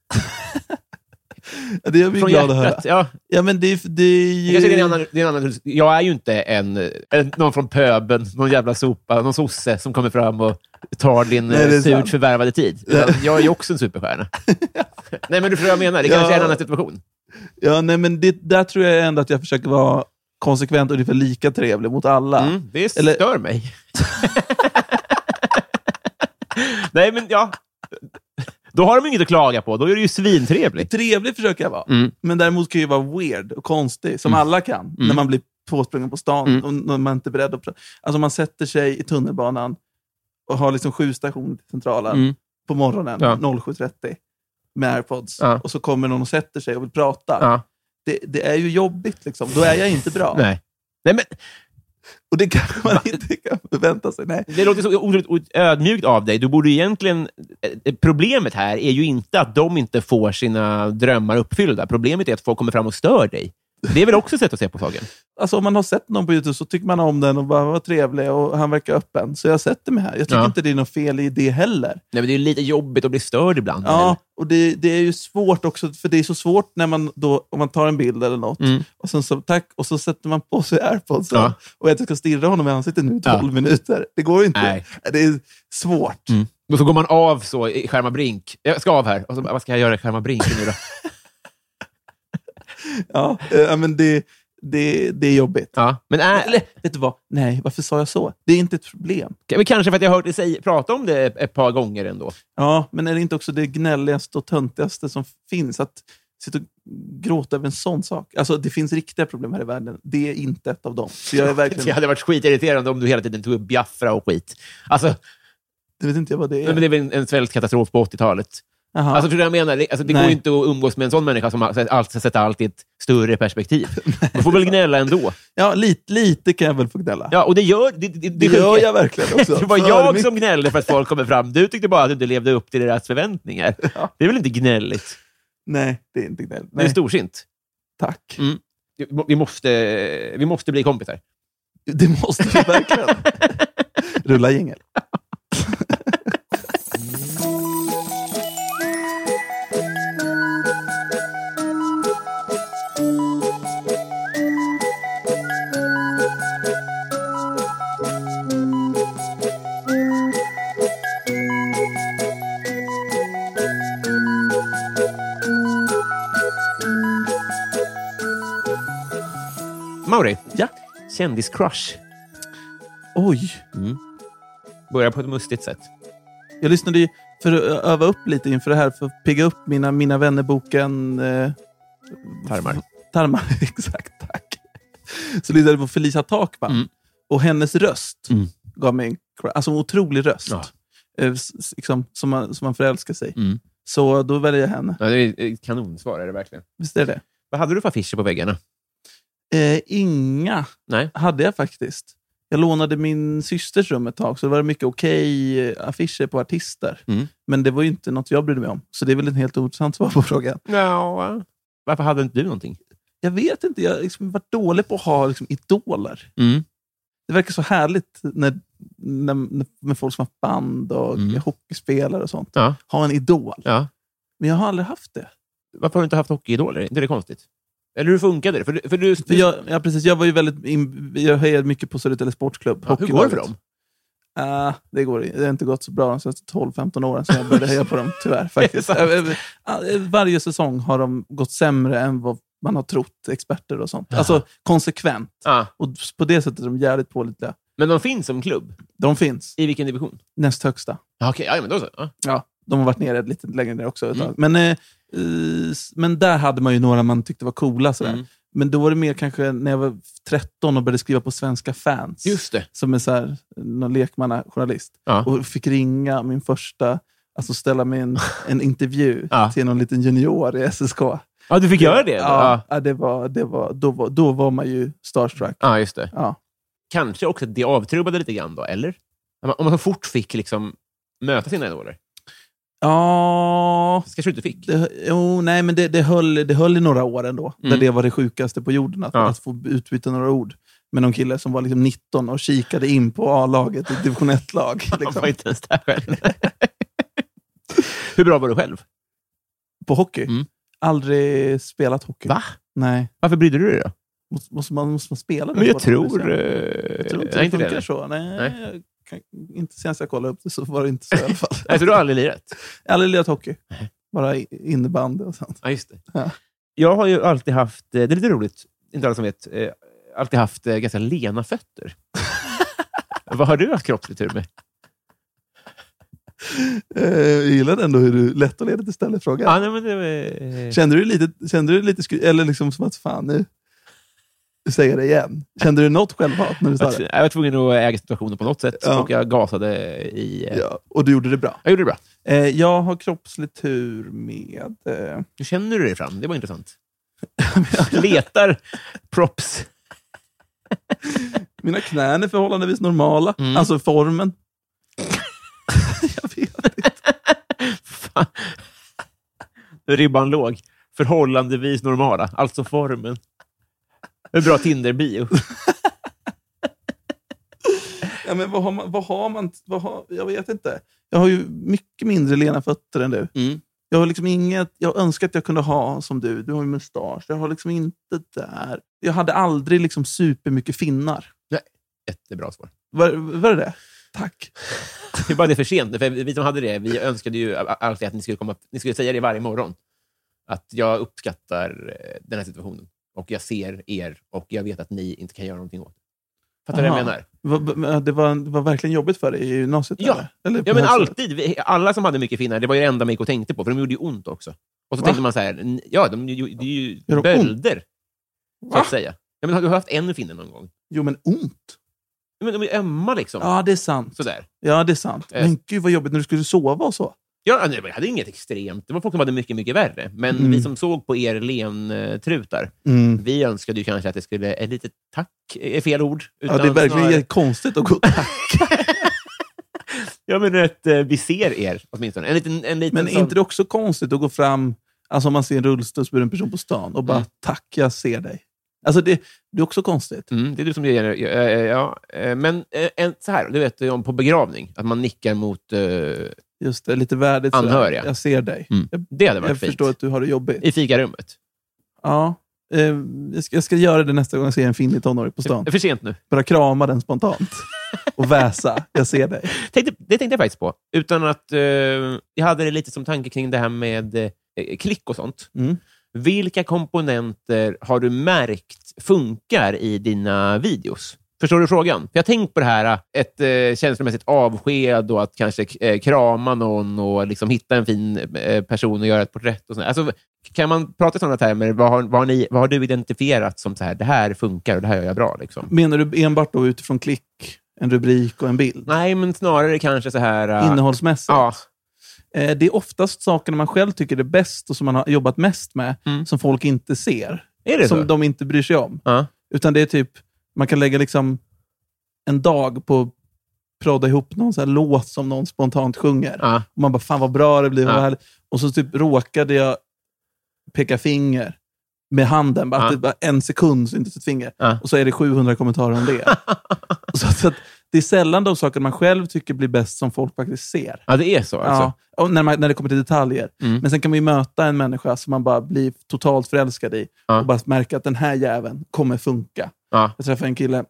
S2: det gör mig
S1: Från
S2: glad att höra.
S1: hjärtat. Ja,
S2: Ja, men det, är- det är
S1: jag,
S2: ju...
S1: kanske det är en annan, det är en annan, jag är ju inte en, en, någon från pöben, någon jävla sopa, någon sosse som kommer fram och tar din
S2: Nej, det är
S1: Nej, surt
S2: sant.
S1: förvärvade tid. Utan jag är ju också en superstjärna. Nej, men du förstår vad jag menar. Det kanske är en
S2: Ja.
S1: annan situation.
S2: Ja, nej, men det, där tror jag ändå att jag försöker vara konsekvent ungefär lika trevlig mot alla.
S1: Mm, det
S2: Eller-
S1: stör mig. Nej, men ja. Då har de inget att klaga på. Då är det ju svintrevligt.
S2: Trevlig försöker jag vara,
S1: Mm.
S2: men däremot kan jag ju vara weird och konstig, som alla kan, när man blir påsprungen på stan
S1: Mm.
S2: och när man inte är beredd att... pra- Alltså man sätter sig i tunnelbanan och har liksom sju stationer till centralen
S1: Mm.
S2: på morgonen
S1: Ja.
S2: 07.30 med airpods
S1: Ja.
S2: och så kommer någon och sätter sig och vill prata.
S1: Ja.
S2: Det, det är ju jobbigt, liksom. då är jag inte bra.
S1: Nej. Nej, men
S2: Och det kanske man inte kan förvänta sig. Nej.
S1: det låter så otroligt o- ödmjukt av dig. Du borde ju egentligen... eh, Problemet här är ju inte att de inte får sina drömmar uppfyllda. Problemet är att folk kommer fram och stör dig. Det är väl också ett sätt att se på saken?
S2: Alltså, om man har sett någon på Youtube så tycker man om den och bara, vad trevlig och han verkar öppen. Så jag sätter mig här. Jag tycker
S1: Ja.
S2: inte det är något fel i det heller.
S1: Nej, men det är ju lite jobbigt att bli störd ibland.
S2: Ja, och det, det är ju svårt också, för det är så svårt när man då, om man tar en bild eller något,
S1: Mm.
S2: och sen så, tack, och så sätter man på sig airpods
S1: Ja.
S2: och jag ska stirra honom i ansiktet nu i
S1: Ja.
S2: 12 minuter. Det går ju inte.
S1: Nej.
S2: Det är svårt.
S1: Mm. Och så går man av så i Skärma Brink. Jag ska av här. Och så, bara, vad ska jag göra i Skärma Brink nu då?
S2: Ja, eh, men det, det, det är jobbigt.
S1: Ja. Men, äh,
S2: Eller, vet du vad? Nej, varför sa jag så? Det är inte ett problem.
S1: men kanske för att jag har hört dig säga- prata om det ett par gånger ändå.
S2: Ja, men är det inte också det gnälligaste och töntigaste som finns? Att sitta och gråta över en sån sak. Alltså, det finns riktiga problem här i världen. Det är inte ett av dem. Så jag är
S1: Det
S2: verkligen...
S1: hade varit skitirriterande om du hela tiden tog upp Biafra och skit. Alltså,
S2: Jag vet inte vad det
S1: men
S2: är.
S1: Det är väl en, en svensk katastrof på 80-talet.
S2: Jaha.
S1: Alltså, förstår du vad jag menar? Det- Alltså, det
S2: Nej.
S1: går ju inte att umgås med en sån människa som har sett allt, sett allt i ett större perspektiv. Man får väl gnälla ändå.
S2: Ja, lite, lite kan jag väl få gnälla.
S1: Ja, och det gör, det, det,
S2: det
S1: det
S2: gör jag verkligen också.
S1: Det var
S2: För
S1: jag
S2: mycket.
S1: som gnällde för att folk kommer fram. Du tyckte bara att du inte levde upp till deras förväntningar.
S2: Ja.
S1: Det är väl inte gnälligt?
S2: Nej, det är inte gnäll.
S1: Det är
S2: Nej,
S1: storsint.
S2: tack.
S1: Mm. Vi måste, vi måste bli kompisar.
S2: Det måste vi verkligen. Rulla jingel.
S1: Mauri,
S2: Ja.
S1: kändiscrush.
S2: Oj.
S1: Börjar på ett mustigt sätt.
S2: Jag lyssnade ju för att öva upp lite inför det här, för att pigga upp mina, mina vännerboken eh,
S1: Tarmar.
S2: tarmar. Exakt, tack. Så lyssnade jag på Felicia Takman.
S1: Mm.
S2: Och hennes röst
S1: Mm.
S2: gav mig en cra- alltså en otrolig röst.
S1: Ja.
S2: Eh, s- s- liksom, som, man, som man förälskar sig i.
S1: Mm.
S2: Så då väljer jag henne.
S1: Ja, det är ett kanonsvar, är det verkligen.
S2: Visst är det?
S1: Vad hade du för affischer på väggarna?
S2: Eh, inga
S1: Nej.
S2: hade jag faktiskt. Jag lånade min systers rum ett tag, så det var mycket okej eh, affischer på artister.
S1: Mm.
S2: Men det var ju inte något jag brydde mig om, så det är väl en helt ointressant svar på frågan.
S1: No. Varför hade inte du någonting?
S2: Jag vet inte, jag har liksom varit dålig på att ha liksom, idoler.
S1: Mm.
S2: Det verkar så härligt när, när, när, med folk som har band och
S1: Mm.
S2: hockeyspelare och sånt.
S1: Ja.
S2: Ha en idol.
S1: Ja.
S2: Men jag har aldrig haft det.
S1: Varför har du inte haft hockeyidoler? Är inte det konstigt? Eller hur funkade det? För, du- för du,
S2: För jag, ja, precis, jag var ju väldigt in, jag hejade mycket på Södertälje Sportklubb.
S1: ja, hur går det för
S2: hockeylaget.
S1: dem?
S2: Ah, det, går, det har inte gått så bra de senaste 12-15 åren sedan jag började heja på dem, tyvärr. Faktiskt.
S1: Det är sant.
S2: Eh, eh, eh, Varje säsong har de gått sämre än vad man har trott, experter och sånt. Alltså konsekvent.
S1: Ja.
S2: Och på det sättet är de jävligt pålitliga.
S1: Men de finns som klubb?
S2: De finns,
S1: I vilken division?
S2: näst högsta.
S1: Ja, Okej, ja, men då så. Ja.
S2: Ja, de har varit nere lite längre ner också. ett tag.
S1: Mm.
S2: Men, eh, eh, s- men där hade man ju några man tyckte var coola. Sådär.
S1: Mm.
S2: Men då var det mer kanske när jag var 13 och började skriva på Svenska fans.
S1: Just det.
S2: Som en så här, någon lekmannajournalist.
S1: Ja.
S2: Och fick ringa min första, alltså ställa mig en, en intervju
S1: Ja.
S2: till någon liten junior i SSK.
S1: Ja, du fick göra det?
S2: Ja, ja. det var, det var, då, var, då var man ju starstruck.
S1: ja just det.
S2: Ja.
S1: Kanske också att det avtrubbade lite grann då, eller? Om man, om man så fort fick liksom möta sina idoler.
S2: ja.
S1: Kanske du inte fick?
S2: Det, jo, nej, men det, det, höll, det höll i några år ändå,
S1: Mm.
S2: där det var det sjukaste på jorden, att,
S1: Ja.
S2: att få utbyta några ord med någon kille som var liksom 19 och kikade in på A-laget i division 1-lag.
S1: Han
S2: Liksom,
S1: var inte ens där själv. Hur bra var du själv?
S2: på hockey.
S1: Mm.
S2: Aldrig spelat hockey.
S1: Va?
S2: Nej.
S1: Varför brydde du dig då?
S2: Måste, måste, man, måste man spela?
S1: Men jag
S2: det?
S1: tror... eh,
S2: Jag tror
S1: nej,
S2: inte det
S1: inte
S2: funkar
S1: det. eller?
S2: så. Nej,
S1: Nej.
S2: Jag kan, inte senast jag kollade upp det så var det inte så i alla fall.
S1: Nej, så Alltså, du har aldrig lirat?
S2: Jag har aldrig lirat hockey.
S1: Nej.
S2: Bara i- innebandy och sånt.
S1: Ja, just det.
S2: Ja.
S1: Jag har ju alltid haft... eh, Det är lite roligt, inte alla som vet, eh, alltid haft eh, ganska lena fötter. Vad har du haft kroppslig tur med?
S2: Eh, jag gillar ändå hur du lätt och ledigt ställer frågan.
S1: Ja, nej, men det, var- eh,
S2: Kände du lite, kände du lite skry- eller liksom som att fan nu, nu säger jag det igen. Kände du något självhat när du sa
S1: jag,
S2: det?
S1: var, jag var tvungen att äga situationen på något sätt
S2: Ja.
S1: och jag gasade i... eh,
S2: Ja, och du gjorde det bra.
S1: Jag gjorde det bra.
S2: Eh, jag har kroppslig tur med... Eh,
S1: Hur känner du dig fram? Det var intressant. Letar props.
S2: mina knän är förhållandevis normala.
S1: Mm.
S2: Alltså formen. jag vet.
S1: Fan. Ribban låg. Förhållandevis normala, alltså formen. En bra Tinder-bio.
S2: Ja, men vad har man, vad har man vad har, jag vet inte. Jag har ju mycket mindre lena fötter än du.
S1: Mm.
S2: Jag har liksom inget jag önskar att jag kunde ha som du. Du har ju mustasch. Jag har liksom inte där. Jag hade aldrig liksom supermycket finnar.
S1: Jättebra svar.
S2: Var, var det det? Tack.
S1: Det är bara det för sent. För vi som hade det, vi önskade ju alltid att ni skulle, komma, ni skulle säga det varje morgon. Att jag uppskattar eh, den här situationen. Och jag ser er och jag vet att ni inte kan göra någonting åt det. Fattar du vad jag
S2: Aha.
S1: menar?
S2: Va- va- Det var, det var verkligen jobbigt för dig i gymnasiet?
S1: Ja.
S2: eller? Eller på
S1: Ja, men
S2: högstadiet?
S1: alltid. Vi- Alla som hade mycket finnar, det var ju det enda man gick och tänkte på, för de gjorde ju ont också. Och så
S2: Va?
S1: tänkte man så här, n- ja, de, det är ju
S2: Gör de ont?
S1: bölder, så
S2: Va?
S1: att säga. Ja, men har du haft en finne någon gång?
S2: Jo, men ont.
S1: Ja, Men de är ömma liksom.
S2: Ja, det är sant.
S1: Sådär.
S2: Ja, det är sant.
S1: Eh.
S2: Men gud vad jobbigt när du skulle sova och så.
S1: Ja, nej, men jag hade inget extremt. Det var folk som hade mycket, mycket värre. Men
S2: Mm.
S1: vi som såg på er lentrutar, vi önskade ju kanske att det skulle... Ett litet tack är fel ord.
S2: Ja, det är verkligen
S1: snarare-
S2: konstigt att gå och tacka.
S1: Ja, men ett, eh, vi ser er åtminstone. En liten, en liten
S2: Men är
S1: sån-
S2: inte det också konstigt att gå fram, alltså om man ser en rullstolsburen person på stan och bara
S1: Mm.
S2: “tack, jag ser dig”? Alltså det, det är också konstigt.
S1: Mm, det är du som ger... Ja, eh, ja, eh, men eh, en, så här, du vet ju om på begravning, att man nickar mot... eh,
S2: Just det, lite värdigt. sådär.
S1: Anhöriga. Mm,
S2: Jag ser dig. Jag-
S1: det hade varit
S2: Jag
S1: fint.
S2: förstår att du har det jobbigt.
S1: I fikarummet.
S2: Ja. Eh, jag, ska, jag ska göra det nästa gång jag ser en finnig tonåring på stan.
S1: Det är För sent nu.
S2: Bara krama den spontant. Och väsa. Jag ser dig.
S1: Tänkte, det tänkte jag faktiskt på. Utan att... Eh, jag hade det lite som tanke kring det här med eh, klick och sånt.
S2: Mm.
S1: Vilka komponenter har du märkt funkar i dina videos? Förstår du frågan? Jag har tänkt på det här, eh, ett eh, känslomässigt avsked och att kanske eh, krama någon och liksom hitta en fin eh, person och göra ett porträtt. Och sånt. Alltså, kan man prata i sådana termer? Vad har, vad, har ni, vad har du identifierat som så här, det här funkar och det här gör jag bra? Liksom?
S2: Menar du enbart då utifrån klick, en rubrik och en bild?
S1: Nej, men snarare kanske så här... eh,
S2: Innehållsmässigt?
S1: Ja.
S2: Eh, Det är oftast sakerna man själv tycker är bäst och som man har jobbat mest med,
S1: Mm.
S2: som folk inte ser.
S1: Är det
S2: som
S1: så?
S2: de inte bryr sig om.
S1: Ja.
S2: Utan det är typ, man kan lägga liksom en dag på att prodda ihop någon så här låt som någon spontant sjunger.
S1: Ja.
S2: Och man bara, fan vad bra det blir.
S1: Ja.
S2: Vad härligt. Och så typ råkade jag peka finger med handen. Bara,
S1: Ja.
S2: typ, bara en sekund så inte ett finger.
S1: Ja.
S2: Och så är det 700 kommentarer om det. så att, så att det är sällan de saker man själv tycker blir bäst som folk faktiskt ser.
S1: ja, det är så alltså?
S2: Ja, och när, man, när det kommer till detaljer.
S1: Mm.
S2: Men sen kan man ju möta en människa som man bara blir totalt förälskad i
S1: Ja.
S2: och bara märka att den här jäveln kommer funka.
S1: Ja.
S2: Jag träffade en kille,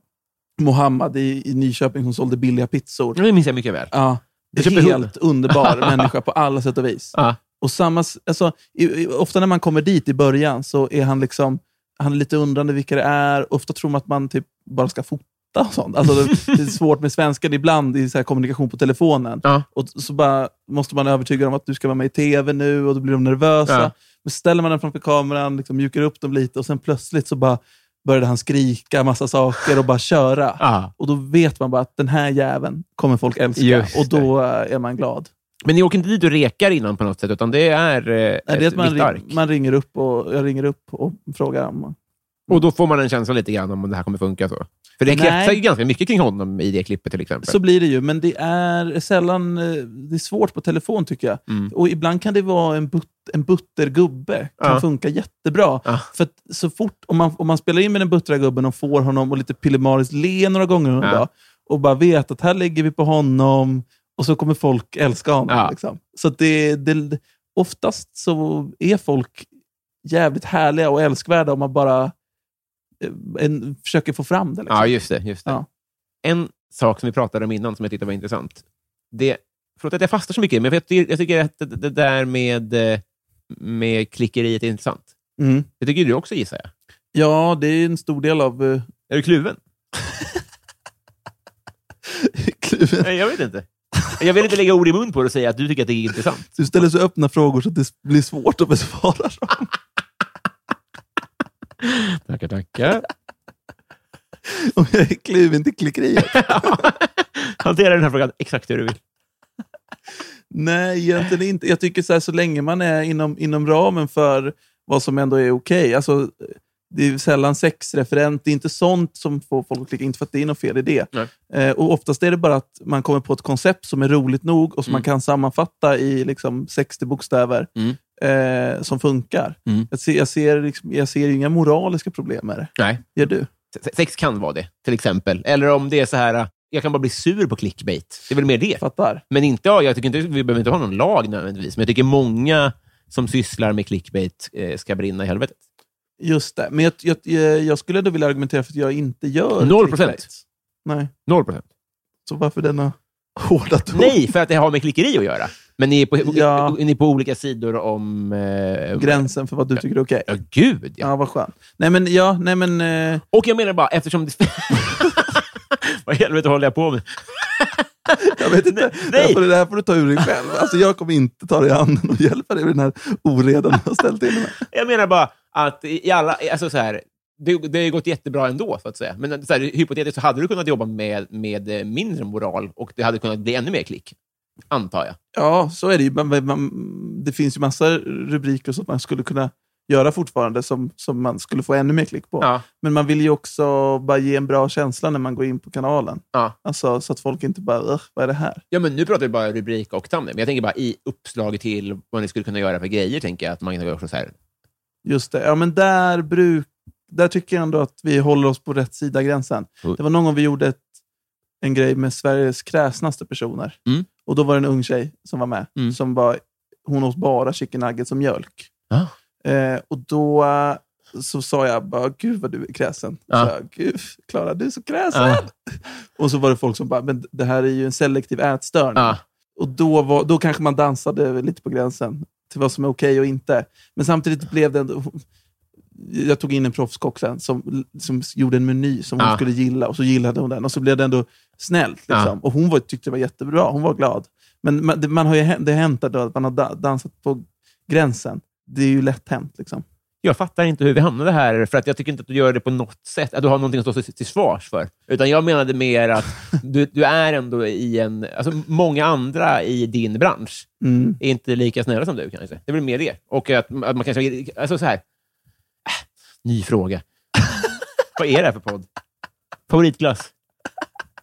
S2: Mohammed i, i Nyköping, som sålde billiga pizzor.
S1: Det minns jag mycket väl.
S2: Ja,
S1: Mm. Jag köper
S2: helt underbar människa på alla sätt och vis.
S1: Ja.
S2: Och samma, s- alltså, i, i, ofta när man kommer dit i början så är han liksom han är lite undrande vilka det är. Ofta tror man att man typ bara ska fota och sånt. Alltså, det, det är svårt med svenskan ibland i så här kommunikation på telefonen.
S1: Ja.
S2: Och så bara, måste man övertyga dem att du ska vara med i tv nu och då blir de nervösa.
S1: Ja.
S2: Men ställer man den framför kameran, liksom mjukar upp dem lite och sen plötsligt så bara började han skrika massa saker och bara köra.
S1: Ja.
S2: Och då vet man bara att den här jäveln kommer folk älska.
S1: Just
S2: och då eh, är man glad.
S1: Men ni åker inte dit och rekar innan på något sätt, utan det är eh,
S2: Nej,
S1: ett
S2: det är att man,
S1: vitt ark?
S2: ring, man ringer upp och, jag ringer upp och frågar om...
S1: Och då får man en känsla lite grann om det här kommer funka så. För det
S2: Nej.
S1: kretsar ju ganska mycket kring honom i det klippet till exempel.
S2: Så blir det ju, men det är sällan... eh, Det är svårt på telefon tycker jag.
S1: Mm.
S2: Och ibland kan det vara en, but, en butter gubbe. kan
S1: Ja.
S2: funka jättebra.
S1: Ja.
S2: För att så fort, om man, om man spelar in med den buttra gubben och får honom att lite pillemariskt le några gånger under
S1: Ja.
S2: dag och bara vet att här lägger vi på honom och så kommer folk älska honom.
S1: Ja.
S2: Liksom. Så att det, det, oftast så är folk jävligt härliga och älskvärda om man bara eh, en, försöker få fram det. Liksom.
S1: Ja, just det. Just det.
S2: Ja.
S1: En sak som vi pratade om innan som jag tyckte var intressant. Det, förlåt att jag fastnar så mycket, men jag tycker, jag tycker att det, det där med, eh, med klickeriet är intressant.
S2: Mm.
S1: Det tycker ju du också gissar jag.
S2: Ja, det är en stor del av eh,
S1: Är du kluven?
S2: Kluven.
S1: Nej, jag vet inte. Jag vill inte lägga ord i mun på dig och säga att du tycker att det är intressant.
S2: Du ställer så öppna frågor så att det blir svårt att besvara dem.
S1: Tackar, tackar.
S2: Om jag är kluven till klickeriet.
S1: Hantera den här frågan exakt hur du vill.
S2: Nej, egentligen inte. Jag tycker så här, så länge man är inom, inom ramen för vad som ändå är okej. Alltså, det är ju sällan sexreferent. Det är inte sånt som får folk att klicka. Inte för att det är något fel i det.
S1: Nej.
S2: Eh, och oftast är det bara att man kommer på ett koncept som är roligt nog och som
S1: Mm.
S2: man kan sammanfatta i liksom 60 bokstäver eh, som funkar.
S1: Mm.
S2: Jag, ser, jag, ser liksom, jag ser ju inga moraliska problem med det.
S1: Nej.
S2: Gör du?
S1: Se- Sex kan vara det, till exempel. Eller om det är så här, äh, jag kan bara bli sur på clickbait. Det är väl mer det.
S2: Fattar?
S1: Men inte, ja, jag tycker inte, vi behöver inte ha någon lag nödvändigtvis, men jag tycker många som sysslar med clickbait eh, ska brinna i helvetet.
S2: Just det. Men jag, jag, jag skulle ändå vilja argumentera för att jag inte gör
S1: Noll procent.
S2: clickbaits. Nej.
S1: Noll procent.
S2: Så varför denna hårda ton?
S1: Nej, för att det har med klickeri att göra. Men ni är på,
S2: Ja.
S1: ni är på olika sidor om... Eh,
S2: gränsen för vad du tycker är okej.
S1: Ja, gud ja.
S2: Ja, vad skönt. Nej, men ja, nej, men... Eh,
S1: Och jag menar bara, eftersom... Det... Vad i helvete håller jag på med?
S2: jag vet inte.
S1: Nej,
S2: Det, här
S1: nej.
S2: får, du- det här får du ta ur dig själv. Alltså, jag kommer inte ta dig i handen och hjälpa dig med den här oredan du har ställt till med.
S1: Jag menar bara att i alla... Alltså så här, det, det har ju gått jättebra ändå, så att säga. Men så här, hypotetiskt så hade du kunnat jobba med, med eh, mindre moral och det hade kunnat bli ännu mer klick, antar jag.
S2: Ja, så är det ju. Man, man, det finns ju massa rubriker som man skulle kunna göra fortfarande som, som man skulle få ännu mer klick på.
S1: Ja.
S2: Men man vill ju också bara ge en bra känsla när man går in på kanalen.
S1: Ja.
S2: Alltså, så att folk inte bara, "Ugh, vad är det här?
S1: Ja, men nu pratar vi bara rubrik och thumbnail, men jag tänker bara i uppslaget till vad ni skulle kunna göra för grejer, tänker jag att man kan göra så här.
S2: Just det. Ja, men där, bruk, där tycker jag ändå att vi håller oss på rätt sida gränsen.
S1: Mm.
S2: Det var någon gång vi gjorde ett, en grej med Sveriges kräsnaste personer.
S1: Mm.
S2: Och Då var det en ung tjej som var med.
S1: Mm.
S2: Som var, hon åt bara chicken nuggets och mjölk.
S1: Ah.
S2: Eh, och Då eh, så sa jag bara, gud vad du är kräsen.
S1: Ah.
S2: Så jag, gud, Klara, du är så kräsen.
S1: Ah.
S2: Och så var det folk som bara, men det här är ju en selektiv ätstörning.
S1: Ja.
S2: Och då, var, då kanske man dansade lite på gränsen till vad som är okej och inte. Men samtidigt blev det ändå... Jag tog in en proffskock sen som, som gjorde en meny som hon
S1: Ja.
S2: skulle gilla och så gillade hon den. Och så blev det ändå snällt. Liksom.
S1: Ja.
S2: Och hon var, tyckte det var jättebra. Hon var glad. Men man, det, man har ju, hä- det har hänt ändå att man har da, dansat på gränsen. Det är ju lätt hänt. Liksom.
S1: Jag fattar inte hur vi hamnade här, för att jag tycker inte att du gör det på något sätt, att du har någonting att stå till, till svars för. Utan jag menade mer att du, du är ändå i en... Alltså, många andra i din bransch
S2: Mm.
S1: är inte lika snälla som du, kanske. Det är väl mer det. Och att, att man kanske... Alltså så här... Äh, ny fråga. Vad är det här för podd? Favoritglass?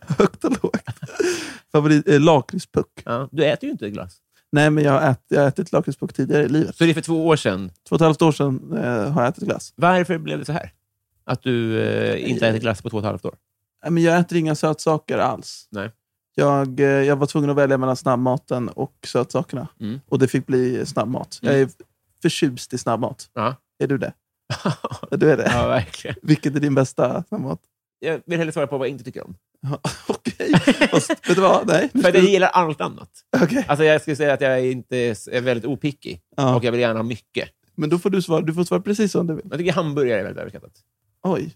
S2: Högt och lågt. Favorit, eh, lakritspuck.
S1: Ja, du äter ju inte glass.
S2: Nej, men jag har, ät, jag har ätit lakritspuck tidigare i livet.
S1: Så det är för två år sedan
S2: Två och ett halvt år sedan eh, har jag ätit glass.
S1: Varför blev det så här? Att du eh, inte har ätit glass på två och ett halvt år?
S2: Nej, men jag äter inga sötsaker alls.
S1: Nej.
S2: Jag, eh, jag var tvungen att välja mellan snabbmaten och sötsakerna.
S1: Mm.
S2: Och det fick bli snabbmat.
S1: Mm.
S2: Jag är förtjust i snabbmat.
S1: Ja.
S2: Är du det? Ja, du är det.
S1: ja, verkligen.
S2: Vilket är din bästa snabbmat?
S1: Jag vill hellre svara på vad jag inte tycker om.
S2: Okej. Fast, vet du vad? Nej. nu
S1: För
S2: ska
S1: jag
S2: du-
S1: gillar allt annat.
S2: Okej.
S1: Alltså, jag skulle säga att jag är, inte, är väldigt opicky
S2: Ja.
S1: och jag vill gärna ha mycket.
S2: Men då får du svara. Du får svara precis som du vill.
S1: Jag tycker hamburgare är väldigt överskattat.
S2: Oj.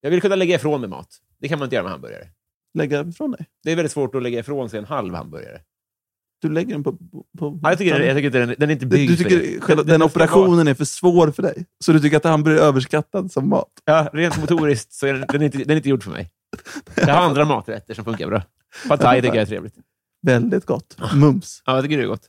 S1: Jag vill kunna lägga ifrån mig mat. Det kan man inte göra med hamburgare.
S2: Lägga ifrån dig.
S1: Det är väldigt svårt att lägga ifrån sig en halv hamburgare. Mm.
S2: Du lägger den på... på, på
S1: Ja, jag tycker, jag tycker inte den, den är inte
S2: du,
S1: byggd
S2: du
S1: för det.
S2: tycker själva,
S1: Den- den
S2: den
S1: måste
S2: operationen är för svår för dig. Så du tycker att hamburgare är överskattad som mat.
S1: Ja, rent motoriskt så är den, den, är inte, den är inte gjord för mig. Jag har andra maträtter som funkar bra. Pad thai tycker jag är trevligt.
S2: Väldigt gott. Mums.
S1: Ja, jag tycker det är gott.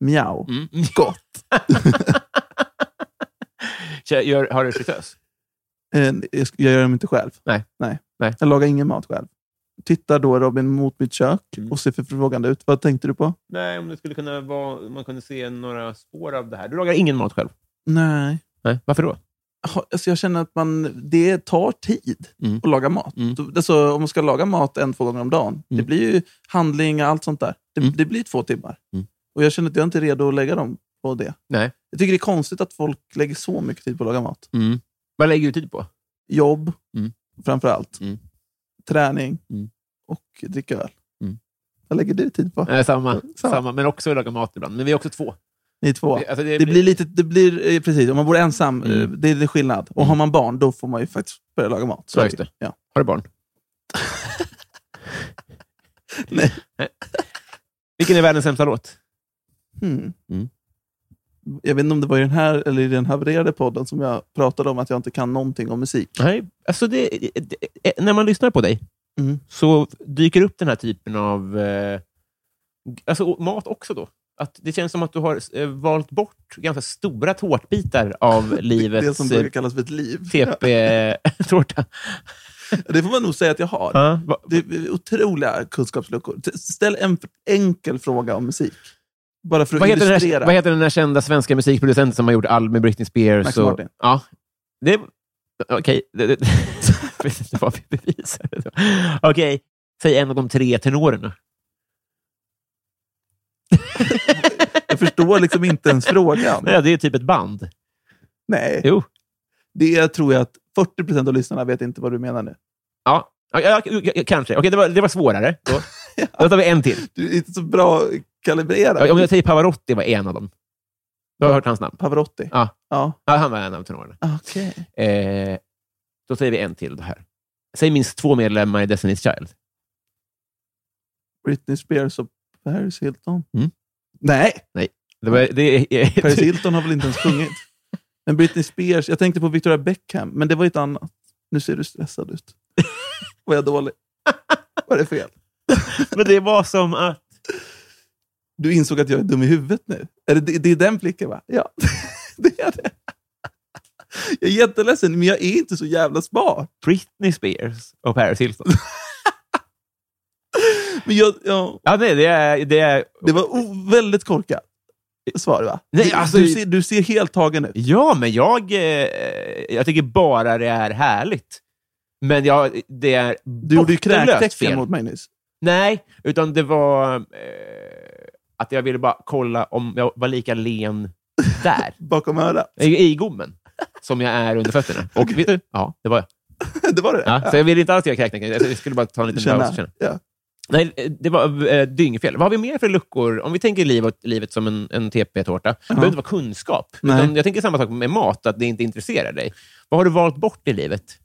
S2: Mjau. Gott.
S1: Kör- Gör, har du fritös?
S2: Eh, jag sk- Jag gör dem inte själv.
S1: Nej.
S2: Nej.
S1: Nej.
S2: Jag lagar ingen mat själv. Tittar då Robin mot mitt kök
S1: Mm.
S2: och ser förfrågande ut. Vad tänkte du på?
S1: Nej, om det skulle kunna vara, man kunde se några spår av det här. Du lagar ingen mat själv?
S2: Nej.
S1: Nej. Varför då?
S2: Ha- Alltså jag känner att man, det tar tid
S1: Mm.
S2: att laga mat.
S1: Mm.
S2: Då- Alltså, om man ska laga mat en, två gånger om dagen, det blir ju handling och allt sånt där. Det,
S1: Mm.
S2: det blir två timmar.
S1: Mm.
S2: Och Jag känner att jag inte är redo att lägga dem på det.
S1: Nej.
S2: Jag tycker det är konstigt att folk lägger så mycket tid på att laga mat.
S1: Mm. Vad lägger du tid på?
S2: Jobb,
S1: Mm.
S2: framför allt.
S1: Mm.
S2: Träning
S1: Mm.
S2: och dricka öl.
S1: Mm.
S2: Vad lägger du tid på?
S1: Eh, samma,
S2: Samma.
S1: samma. Men också att laga mat ibland. Men vi är också två.
S2: Ni två.
S1: Vi-
S2: Det,
S1: alltså, det
S2: blir lite, det blir, eh, precis, om man bor ensam,
S1: Mm.
S2: eh, det är det skillnad. Och har man barn, då får man ju faktiskt börja laga mat.
S1: Ja,
S2: är
S1: just
S2: ju. Ja.
S1: Har du barn?
S2: Nej.
S1: Vilken är världens sämsta låt?
S2: Hmm.
S1: Mm.
S2: Jag vet inte om det var i den här eller i den havererade podden som jag pratade om att jag inte kan någonting om musik.
S1: Nej, alltså det, det, när man lyssnar på dig
S2: Mm.
S1: så dyker upp den här typen av eh, alltså, och mat också. då. Att det känns som att du har eh, valt bort ganska stora tårtbitar av
S2: Det
S1: livets eh,
S2: som brukar kallas för ett liv.
S1: TP-tårta.
S2: Det får man nog säga att jag har.
S1: Ja, va-
S2: Det är otroliga kunskapsluckor. T- Ställ en f- enkel fråga om musik. Bara för att
S1: vad, heter den
S2: illustrera.
S1: här, vad heter den här kända svenska musikproducenten som har gjort all med Britney Spears?
S2: Max
S1: och,
S2: Martin.
S1: Ja. Det, okej. Det, det, jag vet inte vad vi bevisade. då. Okej, säg en av de tre tenorerna.
S2: Jag förstår liksom inte ens frågan.
S1: Ja, det är typ ett band.
S2: Nej,
S1: Jo.
S2: det tror jag att 40 procent av lyssnarna vet inte vad du menar nu.
S1: Ja, ja, ja, ja kanske. Okej, det, var, det var svårare. Då. då tar vi en till.
S2: Du är inte så bra kalibrerad.
S1: Ja, Om jag säger Pavarotti var en av dem. Du har hört hans namn?
S2: Pavarotti?
S1: Ja.
S2: ja.
S1: Ja, han var en av tenorerna.
S2: Okej.
S1: Eh, då säger vi en till då här. Säg minst två medlemmar i Destiny's Child.
S2: Britney Spears och Paris Hilton.
S1: Mm.
S2: Nej,
S1: Det var, det, är-
S2: Paris Hilton har väl inte ens sjungit. Men Britney Spears, jag tänkte på Victoria Beckham, men det var ju ett annat. Nu ser du stressad ut. Var jag dålig? Var det fel?
S1: Men det var som att...
S2: Du insåg att jag är dum i huvudet nu? Är det, det, det är den blicken, va? Ja, det är det. Jag är jätteledsen, men jag är inte så jävla smart.
S1: Britney Spears och Paris Hilton.
S2: Men jag, jag,
S1: Ja, nej, det är... Det är
S2: det var o- väldigt korkat svar, va?
S1: Nej,
S2: Du-
S1: alltså-
S2: du, ser, du ser helt tagen ut.
S1: ja, men jag, eh, jag tycker bara det är härligt. Men jag, det är
S2: Du gjorde ju
S1: bottenlöst
S2: kräktecken
S1: fel.
S2: mot mig nyss.
S1: Nej, utan det var eh, att jag ville bara kolla om jag var lika len där,
S2: Bakom örat.
S1: i, i gommen, som jag är under fötterna. Och vet du? Ja, det var jag.
S2: Det var det?
S1: Ja, så jag ville inte alls göra kräktecken. Jag jag skulle bara ta en liten paus och känna.
S2: Ja.
S1: Nej, eh, det var eh, dyngfel. Vad har vi mer för luckor? Om vi tänker livet, livet som en, en TP-tårta, det behöver inte vara kunskap.
S2: Nej.
S1: Utan jag tänker samma sak med mat, att det inte intresserar dig. Vad har du valt bort i livet?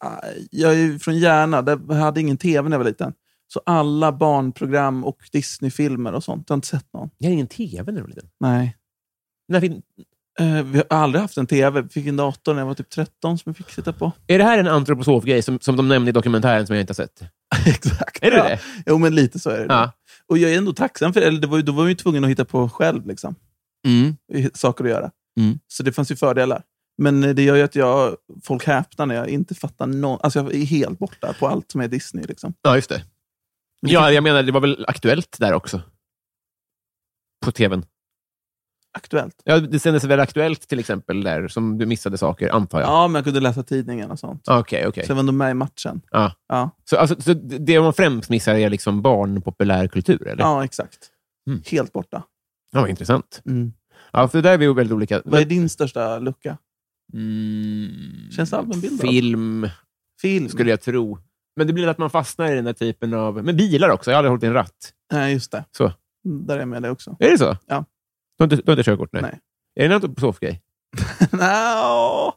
S2: Ah, Jag är ju från Järna, där jag hade ingen tv när jag var liten. Så alla barnprogram och Disney-filmer och sånt, jag har inte sett någon.
S1: Jag hade ingen TV när jag var liten.
S2: Nej.
S1: När fin-
S2: Eh, Vi har aldrig haft en tv. Vi fick en dator när jag var typ 13 som jag fick sitta på.
S1: Är det här en antroposof-grej som, som de nämnde i dokumentären som jag inte har sett?
S2: Exakt.
S1: Är det
S2: ja.
S1: det?
S2: Jo, men lite så är det.
S1: Ja.
S2: Och jag är ändå tacksam för det. Eller det var, ju- då var jag ju tvungen att hitta på själv, liksom. i- saker att göra.
S1: Mm.
S2: Så det fanns ju fördelar. Men eh, det gör ju att jag, folk häpnar när jag inte fattar någon... Alltså jag är helt borta på allt som är Disney. Liksom.
S1: Ja, just det. Ja, jag menar, det var väl aktuellt där också? På tvn.
S2: Aktuellt.
S1: Ja, det sändes väl aktuellt till exempel där, som du missade saker, antar jag?
S2: Ja, men jag kunde läsa tidningen och sånt.
S1: Okej, okej.
S2: Så jag var ändå med i matchen.
S1: Ja.
S2: Ja,
S1: Så, alltså, så det man främst missar är liksom barn, populärkultur, eller?
S2: ja exakt.
S1: Mm.
S2: Helt borta. Mm.
S1: Ja, vad intressant. Ja, för där är vi ju väldigt olika.
S2: Vad är din största lucka?
S1: Mm,
S2: Känns allmänbildad?
S1: Film,
S2: Film?
S1: skulle jag tro. Men det blir att man fastnar i den här typen av... Men bilar också. Jag har aldrig hållit i en ratt.
S2: Nej, just det.
S1: Så.
S2: Mm, Där är jag med dig också.
S1: Är det så?
S2: Ja.
S1: Du har inte, du har inte körkort? Nej.
S2: Nej.
S1: Är det något sovgrej?
S2: Nja,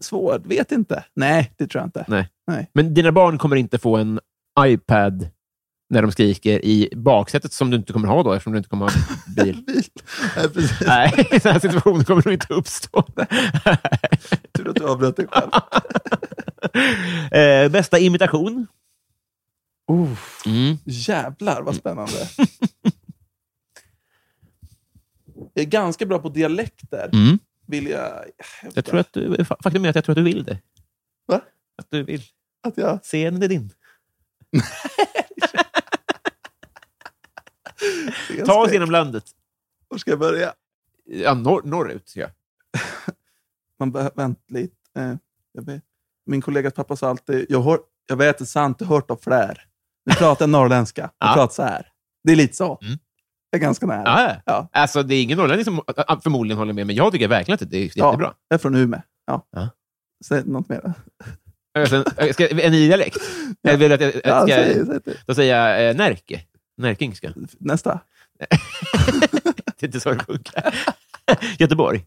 S2: svårt. Vet inte. Nej, det tror jag inte.
S1: Nej. Men dina barn kommer inte få en iPad när de skriker i baksätet som du inte kommer ha då, eftersom du inte kommer ha bil.
S2: Bil. Nej, precis.
S1: Nej, sådana situationer kommer nog inte uppstå.
S2: Tur att du avbröt dig själv.
S1: eh, bästa imitation?
S2: Oh,
S1: Mm.
S2: jävlar vad spännande. Jag är ganska bra på dialekter.
S1: Mm.
S2: Vill jag...
S1: Jag tror att du, fa- faktum är att jag tror att du vill det.
S2: Va?
S1: Att du vill.
S2: Att jag...
S1: Scenen är din. Ta oss genom landet.
S2: Var ska jag börja?
S1: Ja, norr, norrut. Ja.
S2: man behöver vänta lite. Eh, jag vet. Min kollegas pappa sa alltid, jag, hör, jag vet det sant, jag hört av fler. Nu pratar jag norrländska, jag
S1: Ja.
S2: pratar så här. Det är lite så.
S1: Mm.
S2: Jag är ganska nära.
S1: Ja.
S2: Ja.
S1: Alltså, det är ingen norrlänning som ä, ä, förmodligen håller med, men jag tycker verkligen att det är jättebra.
S2: Jag är från Umeå. Ja.
S1: Ja.
S2: Säg något mer.
S1: Ja. Sen, ä, ska, Alltså, en ny dialekt?
S2: Ja.
S1: Eller vill du att jag,
S2: Ja,
S1: ska,
S2: säg, säg det.
S1: då säger jag eh, närke. Närkingska.
S2: Nästa.
S1: Det är inte så det funkar. Göteborg.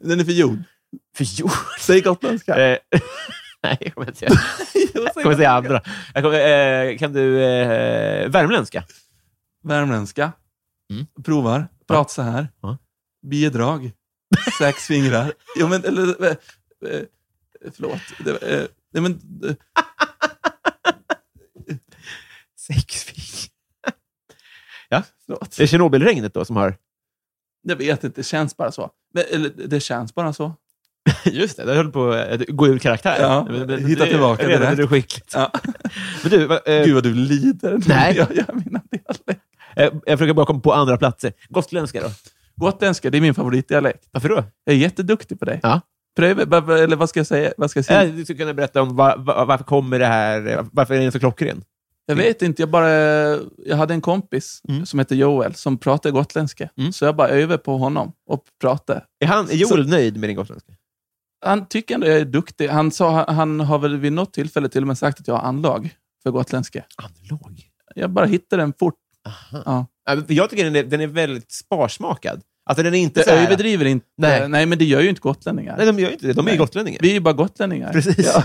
S2: Den är för jord.
S1: För jo.
S2: Säg gotländska.
S1: Eh, Nej, jag kommer inte säga. Jag kommer säga andra. Jag kommer, eh, kan du eh, värmländska?
S2: Värmländska.
S1: Mm.
S2: Provar. Prata så här.
S1: Ja.
S2: Bidrag. Sex fingrar. Jo, men eller... eh, eh, Förlåt. Det, var, eh, nej, men... eh,
S1: Sex fingrar.
S2: Förlåt.
S1: Är det Tjernobylregnet då som har...
S2: Jag vet inte, det känns bara så. Men, eller, det känns bara så.
S1: Just det, det höll på att gå ur karaktär.
S2: Ja, hitta
S1: det-
S2: tillbaka
S1: jag vet att
S2: direkt.
S1: Du är skickligt.
S2: Ja.
S1: Men du, va- eh,
S2: Gud vad du lider
S1: Nej.
S2: när jag gör mina dialekter.
S1: eh, jag försöker bara komma på andra platser. Gotländska då?
S2: Gotländska, det är min favoritdialekt.
S1: Varför då?
S2: Jag är jätteduktig på det.
S1: Ja.
S2: Pröv, va- va- eller vad ska jag säga? Vad ska jag, säga?
S1: Eh, Du skulle kunna berätta om va, va, varför kommer det här... eh, Varför är den så klockren?
S2: jag vet inte, jag bara... Jag hade en kompis
S1: Mm.
S2: som hette Joel som pratade gotländska.
S1: Mm.
S2: Så jag bara över på honom och pratade.
S1: Är, han, är Joel
S2: Så-
S1: nöjd med din gotländska?
S2: Han tycker ändå jag är duktig. Han, sa, han, han har väl vid något tillfälle till och med sagt att jag har anlag för gotländska.
S1: Anlag?
S2: Jag bara hittade den fort. Ja.
S1: Ja, men för Jag tycker den är, den är väldigt sparsmakad. Alltså den är inte
S2: Jag
S1: så här...
S2: överdriver inte.
S1: Nej.
S2: Nej, men det gör ju inte gotlänningar.
S1: Nej, de gör ju inte det. De är ju
S2: Nej.
S1: gotlänningar.
S2: Vi är ju bara gotlänningar.
S1: Precis.
S2: Ja.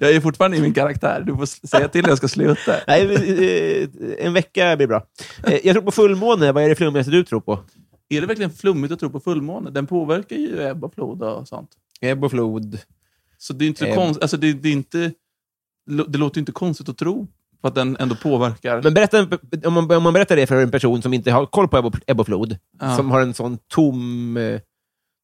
S2: Jag är fortfarande i min karaktär. Du får s- säga till när jag ska sluta.
S1: Nej, men, eh, en vecka blir bra. Eh, Jag tror på fullmåne. Vad är det flummigaste du tror på?
S2: Är det verkligen flummigt att tro på fullmåne? Den påverkar ju ebb och flod och sånt.
S1: Ebb och flod.
S2: Så det är inte
S1: Ebb.
S2: konstigt. Alltså det, det, är inte, lo- det låter ju inte konstigt att tro på att den ändå påverkar.
S1: Men berätta, om, man, om man berättar det för en person som inte har koll på ebb och, ebb och flod,
S2: Ja.
S1: som har en sån tom... eh,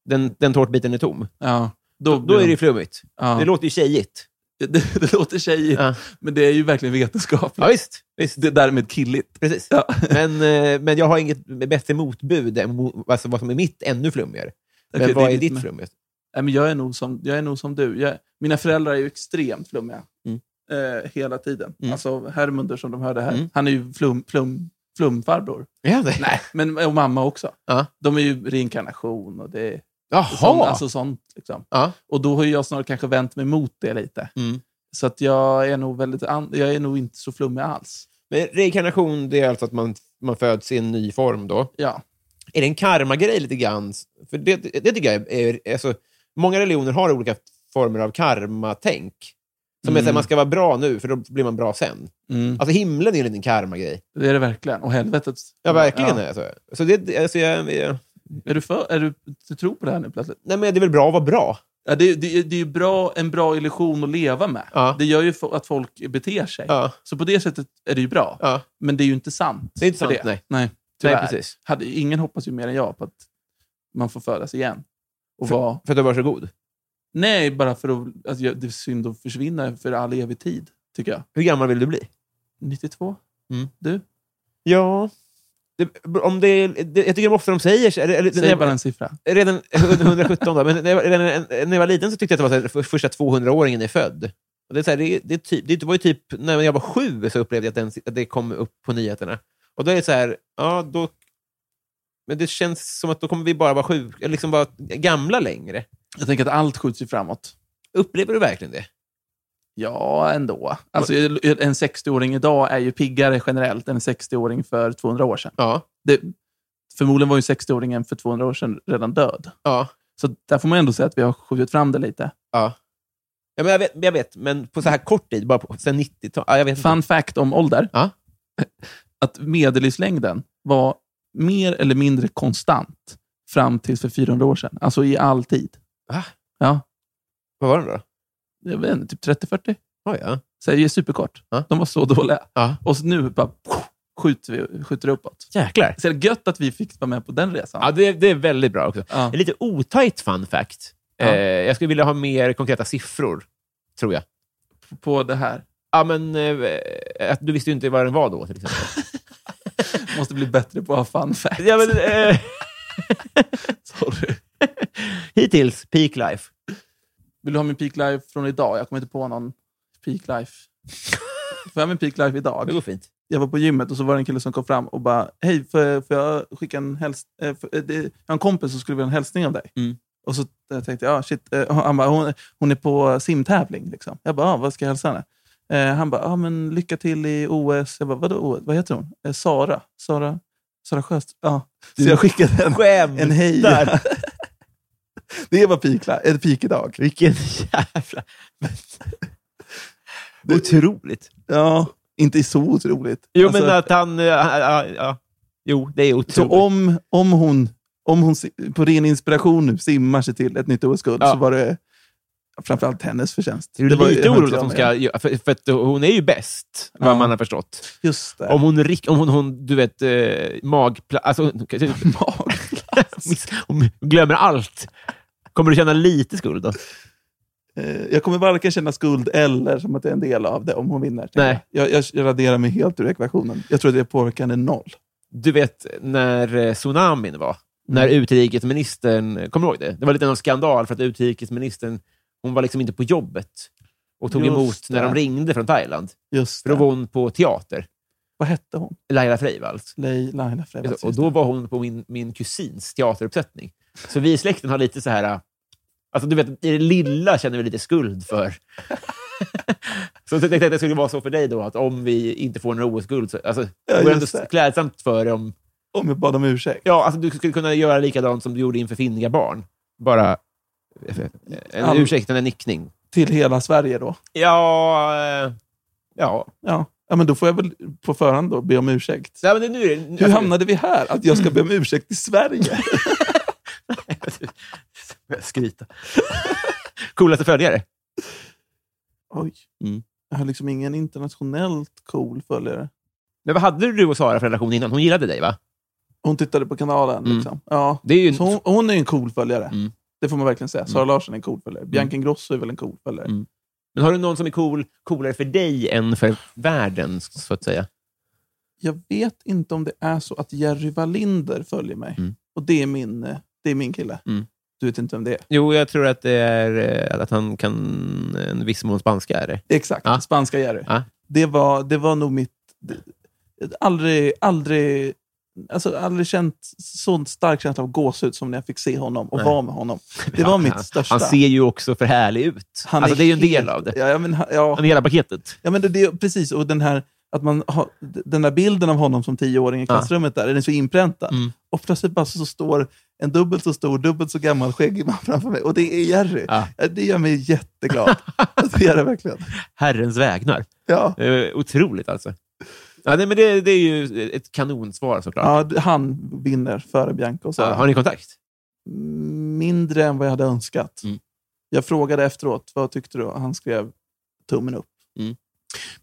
S1: Den, den tårtbiten är tom.
S2: ja, då,
S1: Då är det ju flummigt.
S2: ja.
S1: Det låter ju tjejigt.
S2: det, det låter tjejigt,
S1: Ja,
S2: men det är ju verkligen vetenskapligt.
S1: ja visst. visst.
S2: Det är därmed killigt.
S1: Precis.
S2: Ja.
S1: Men, eh, men jag har inget bättre motbud än mo- alltså vad som är mitt ännu flummigare. Men
S2: Okej, det
S1: vad
S2: är
S1: är
S2: ditt
S1: ditt
S2: med.
S1: flummigast?
S2: Nej, men jag, är nog som, jag är nog som du. Jag, mina föräldrar är ju extremt flummiga.
S1: Mm.
S2: Eh, hela tiden.
S1: Mm.
S2: Alltså Hermunder som de hörde här,
S1: Mm.
S2: han är ju flum, flum, flumfarbror.
S1: Ja, det. Nej.
S2: Men, och mamma också.
S1: Ja.
S2: De är ju reinkarnation och det är
S1: Jaha!
S2: sån, alltså sånt. Liksom.
S1: ja.
S2: Och då har ju jag snarare kanske vänt mig mot det lite.
S1: Mm.
S2: Så att jag, är nog väldigt an- jag är nog inte så flummig alls.
S1: Men reinkarnation, det är alltså att man, man föds i en ny form då.
S2: Ja.
S1: Är det en karmagrej lite grann? För det, det tycker jag är... är- Alltså, många religioner har olika former av karmatänk. Som är
S2: Mm.
S1: att man ska vara bra nu, för då blir man bra sen. Alltså himlen är en liten karmagrej.
S2: Det är det verkligen. Och helvetet.
S1: Ja, verkligen.
S2: Ja.
S1: Alltså. Så det, alltså, jag, jag,
S2: Är, du för, är du, du tror på det här nu plötsligt?
S1: nej, men det är väl bra att vara bra?
S2: Ja, det, det, det är ju bra, en bra illusion att leva med.
S1: Ja.
S2: Det gör ju fo- att folk beter sig.
S1: Ja.
S2: Så på det sättet är det ju bra.
S1: ja.
S2: Men det är ju inte sant.
S1: Det är inte
S2: för
S1: sant, nej.
S2: nej
S1: Nej,
S2: tyvärr.
S1: precis.
S2: Hade, ingen hoppas ju mer än jag på att man får födas igen. Och vara...
S1: För att du var så god.
S2: Nej, bara för att alltså, jag- det är synd att försvinna för all evig tid, tycker jag.
S1: Hur gammal vill du bli?
S2: 92?
S1: Mm.
S2: Du?
S1: Ja... Det, om det, det, jag tycker ofta de säger... så- Eller, eller,
S2: Säg
S1: när jag-
S2: bara en siffra.
S1: Redan 117 då, men när jag, redan, när jag var liten så tyckte jag att det var så här, för- första 200-åringen är född. Och det, är så här, det, det, är typ, det var ju typ när jag var sju så upplevde jag att, den, att det kom upp på nyheterna. Och då är det så här, ja, då... Men det känns som att då kommer vi bara vara sjuka, eller liksom vara gamla längre.
S2: Jag tänker att allt skjuts ju framåt.
S1: Upplever du verkligen det?
S2: Ja, ändå. Alltså, en 60-åring idag är ju piggare generellt än en 60-åring för 200 år sedan.
S1: Ja.
S2: Det, Förmodligen var ju 60-åringen för 200 år sedan redan död.
S1: Ja.
S2: Så där får man ändå säga att vi har skjutit fram det lite.
S1: Ja. ja men jag, vet, jag vet, men på så här kort tid, bara på, sen 90-talet. Ja, jag vet inte.
S2: Fun fact om ålder.
S1: Ja.
S2: Att medellivslängden var mer eller mindre konstant fram till för 400 år sedan. Alltså i all tid.
S1: Va?
S2: Ja.
S1: Vad var den då?
S2: Jag vet inte, typ 30-40.
S1: Oj, ja.
S2: Så det är superkort.
S1: Ja.
S2: De var så dåliga.
S1: Ja.
S2: Och så nu bara skjuter, vi, skjuter det uppåt.
S1: Jäklar.
S2: Så det är gött att vi fick vara med på den resan.
S1: Ja, det, det är väldigt bra också.
S2: Ja.
S1: En lite otajt fun fact.
S2: Ja.
S1: Eh, jag skulle vilja ha mer konkreta siffror, tror jag.
S2: På det här.
S1: Ja, men, eh, att du visste ju inte vad den var då, till exempel.
S2: Måste bli bättre på att ha fun facts.
S1: ja, men, eh,
S2: Sorry.
S1: hittills, peak life.
S2: Vill du ha min peak life från idag? Jag kommer inte på någon peak life. Får jag min peak life
S1: Det
S2: idag?
S1: går fint.
S2: Jag var på gymmet och så var det en kille som kom fram och bara, hej, får, får jag skicka en häls- eh, för, eh, det, jag har en kompis som skulle vilja ha en hälsning av dig.
S1: Mm.
S2: Och så eh, tänkte jag, ah, shit. Eh, han bara, hon, hon är på simtävling. Liksom. Jag bara, ah, vad ska jag hälsa henne? Eh, han bara, ah, men lycka till i OS. Jag bara, vadå OS? Vad heter hon? Eh, Sara. Sara, Sara Sjöström. Ja. Så jag skickade en,
S1: Skämtar!
S2: en hej. Det var peak, li- eh, peak idag.
S1: Vilken jävla... Otroligt.
S2: Ja, inte så otroligt.
S1: Jo,
S2: Alltså,
S1: men att han... eh, Ja, ja, ja. Jo, det är otroligt.
S2: så om, om hon, om hon si- på ren inspiration nu simmar sig till ett nytt OS-guld
S1: Ja.
S2: så var det framförallt hennes förtjänst.
S1: det är ju
S2: var
S1: lite
S2: jag
S1: oroligt
S2: inte
S1: att hon
S2: med.
S1: ska... göra- För, för att hon är ju bäst,
S2: Ja.
S1: vad man har förstått.
S2: Just det.
S1: Om hon, rikt- om hon, hon du vet, eh, magpla... Alltså, hon- typ, Miss- hon glömmer allt. Kommer du känna lite skuld då?
S2: Eh, Jag kommer varken känna skuld eller som att jag är en del av det om hon vinner. tänker
S1: Nej.
S2: Jag, jag, jag raderar mig helt ur ekvationen. Jag tror att det påverkar henne noll.
S1: Du vet när eh, tsunamin var, när
S2: Mm.
S1: utrikesministern, kommer du ihåg det? Det var lite någon skandal för att utrikesministern, hon var liksom inte på jobbet och tog
S2: Just
S1: emot när
S2: det.
S1: de ringde från Thailand.
S2: Just
S1: För då
S2: det.
S1: var hon på teater,
S2: Vad hette hon?
S1: Laila Freivalds.
S2: Lej- Laila Freivalds.
S1: Alltså, Och då var hon på min, min kusins teateruppsättning. Så vi i släkten har lite så här... äh, Alltså, du vet, i det lilla känner vi lite skuld för. så jag tänkte att det skulle vara så för dig då, att om vi inte får några OS-guld, så alltså, det vore ändå
S2: just det.
S1: klädsamt för dig om...
S2: Om jag bad om ursäkt.
S1: Ja, alltså, du skulle kunna göra likadant som du gjorde inför finniga barn. Bara eh, en
S2: All-
S1: ursäkt eller en nickning.
S2: Till hela Sverige då.
S1: Ja... eh, Ja.
S2: Ja. ja, men då får jag väl på förhand då be om ursäkt.
S1: Nej, men det, nu är det,
S2: Hur hamnade vi här? Att jag ska be om ursäkt i Sverige?
S1: Jag skryta. Coolaste följare?
S2: Oj.
S1: Mm.
S2: Jag har liksom ingen internationellt cool följare.
S1: Men vad hade du och Sara för relation innan? Hon gillade dig, va?
S2: Hon tittade på kanalen.
S1: Mm.
S2: Liksom. Ja.
S1: Det är ju
S2: Så hon, hon är ju en cool följare.
S1: Mm.
S2: Det får man verkligen säga. Sara Larsson är en cool följare. Bianca Ingrosso är väl en cool följare.
S1: Mm. Men har du någon som är cool, coolare för dig än för världen, så att säga?
S2: Jag vet inte om det är så att Jerry Wallinder följer mig.
S1: Mm.
S2: Och det är min, eh, det är min kille.
S1: Mm.
S2: Du vet inte vem det är.
S1: Jo, jag tror att det är eh, att han kan en viss mån spanska. Är det?
S2: Exakt.
S1: Ja.
S2: Spanska Jerry.
S1: Ja.
S2: Det, var, det var nog mitt... Aldrig, aldrig, alltså aldrig känt sån stark känsla av gåshud som när jag fick se honom och
S1: Nej.
S2: vara med honom. Det var mitt största.
S1: Han ser ju också för härlig ut.
S2: Han
S1: alltså, det är ju en del
S2: helt-
S1: av det.
S2: Ja, ja, men, han- ja,
S1: Han är hela paketet.
S2: ja, men det, det, precis. Och den här, att man har, den där bilden av honom som tioåring i
S1: Ja.
S2: klassrummet, där, den är så inpräntad.
S1: Mm.
S2: Och plötsligt bara så, så står en dubbelt så stor, dubbelt så gammal skäggig man framför mig. Och det är Jerry.
S1: Ja.
S2: Ja, Det gör mig jätteglad. det gör det verkligen.
S1: Herrens vägnar.
S2: Ja.
S1: Eh, Otroligt, alltså. Ja, nej, men det, det är ju ett kanonsvar, såklart.
S2: Ja, d- han vinner före Bianca och
S1: Så,
S2: Sara.
S1: har ni kontakt?
S2: Mindre än vad jag hade önskat.
S1: Mm.
S2: Jag frågade efteråt, vad tyckte du? Och han skrev tummen upp.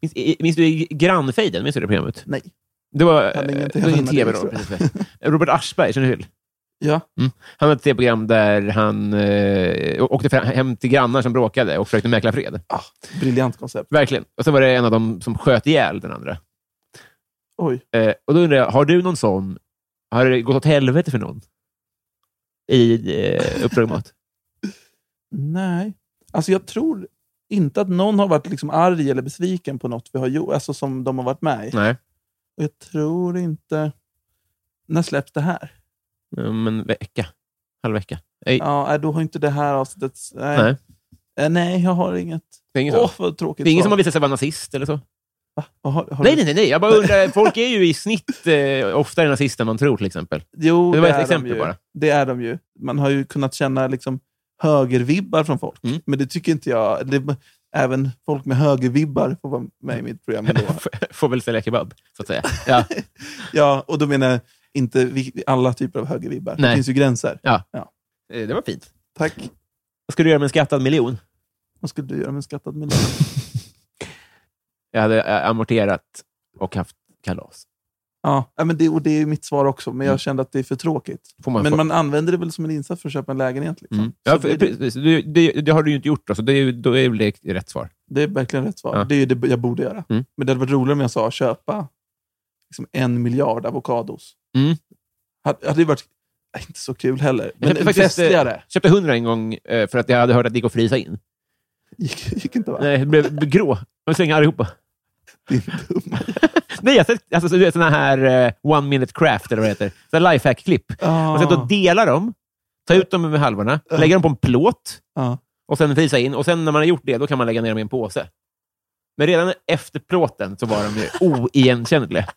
S1: Minns, i- minns du Grannfejden? Minns du det programmet?
S2: Nej.
S1: Det var
S2: hade
S1: eh,
S2: ingen
S1: det var ingen tv
S2: tv med
S1: då.
S2: det,
S1: precis. Robert Aschberg, känner du till? Mm.
S2: Ja,
S1: Han hade ett tv-program där han eh, åkte fram, hem till grannar som bråkade och försökte mäkla fred.
S2: ah, briljant koncept.
S1: Verkligen. Och sen var det en av dem som sköt ihjäl den andra.
S2: Oj.
S1: Eh, och då undrar jag, har du någon sån... Har det gått åt helvete för någon? I eh, Uppdrag Mat?
S2: Nej. Alltså jag tror inte att någon har varit liksom arg eller besviken på något vi har gjort, alltså som de har varit med i.
S1: Nej.
S2: Och jag tror inte... När släpps det här?
S1: Om en Mm, vecka. Halv vecka.
S2: Ja, nej, då har inte det här avsnittet... Nej.
S1: Nej.
S2: Eh, nej jag har inget.
S1: Det är ingen,
S2: Åh,
S1: sån.
S2: vad tråkigt
S1: Det är ingen
S2: svar.
S1: som har visat sig vara nazist eller så?
S2: Va? Vad Har, har
S1: Nej,
S2: du-
S1: nej, nej, nej. Jag bara undrar. folk är ju i snitt eh, oftare nazister än man tror, till exempel.
S2: Jo,
S1: Det var ett
S2: är de
S1: exempel
S2: ju.
S1: bara.
S2: Det är de ju. Man har ju kunnat känna liksom högervibbar från folk.
S1: Mm.
S2: Men det tycker inte jag. Det, även folk med högervibbar får vara med i mitt program. Då.
S1: Får väl sälja kebab, så att säga. Ja.
S2: ja, och då menar jag inte vi- alla typer av högervibbar.
S1: Nej.
S2: Det finns ju gränser.
S1: Eh, Det var fint.
S2: Tack.
S1: Vad ska du göra med en skattad miljon?
S2: Vad skulle du göra med en skattad miljon?
S1: Jag hade eh, amorterat och haft kalas.
S2: Ja, ja, men det, och det är ju mitt svar också, men jag kände att det är för tråkigt.
S1: Mm. Får man
S2: men
S1: få-
S2: man använder det väl som en insats för att köpa en lägenhet. Liksom.
S1: Mm. Ja,
S2: Så
S1: för,
S2: det, det,
S1: precis. Det, det, det har du ju inte gjort, då, så det, är ju- då är väl det rätt svar.
S2: är verkligen rätt svar.
S1: Ja.
S2: Det är ju det jag borde göra.
S1: Mm.
S2: Men det hade varit roligare om jag sa köpa liksom, en miljard avokados.
S1: Mm.
S2: Hade, hade det varit nej, inte så kul heller, men
S1: köpte
S2: det
S1: faktiskt, eh,
S2: festligare.
S1: köpte hundra en gång eh, för att jag hade hört att det gick att frysa in.
S2: Gick, gick inte va?
S1: Nej, det blev blev grå. Jag slängde allihopa.
S2: Din dumma.
S1: Nej, jag har sett alltså, så du vet, såna här eh, one minute craft, eller vad det heter. Såna här Lifehack-klipp. Man ska då
S2: Ah,
S1: dela dem, ta ut dem med halvorna, lägga dem på en plåt
S2: ah.
S1: och sen frysa in. Och sen när man har gjort det, då kan man lägga ner dem i en påse. Men redan efter plåten så var de ju oigenkännliga.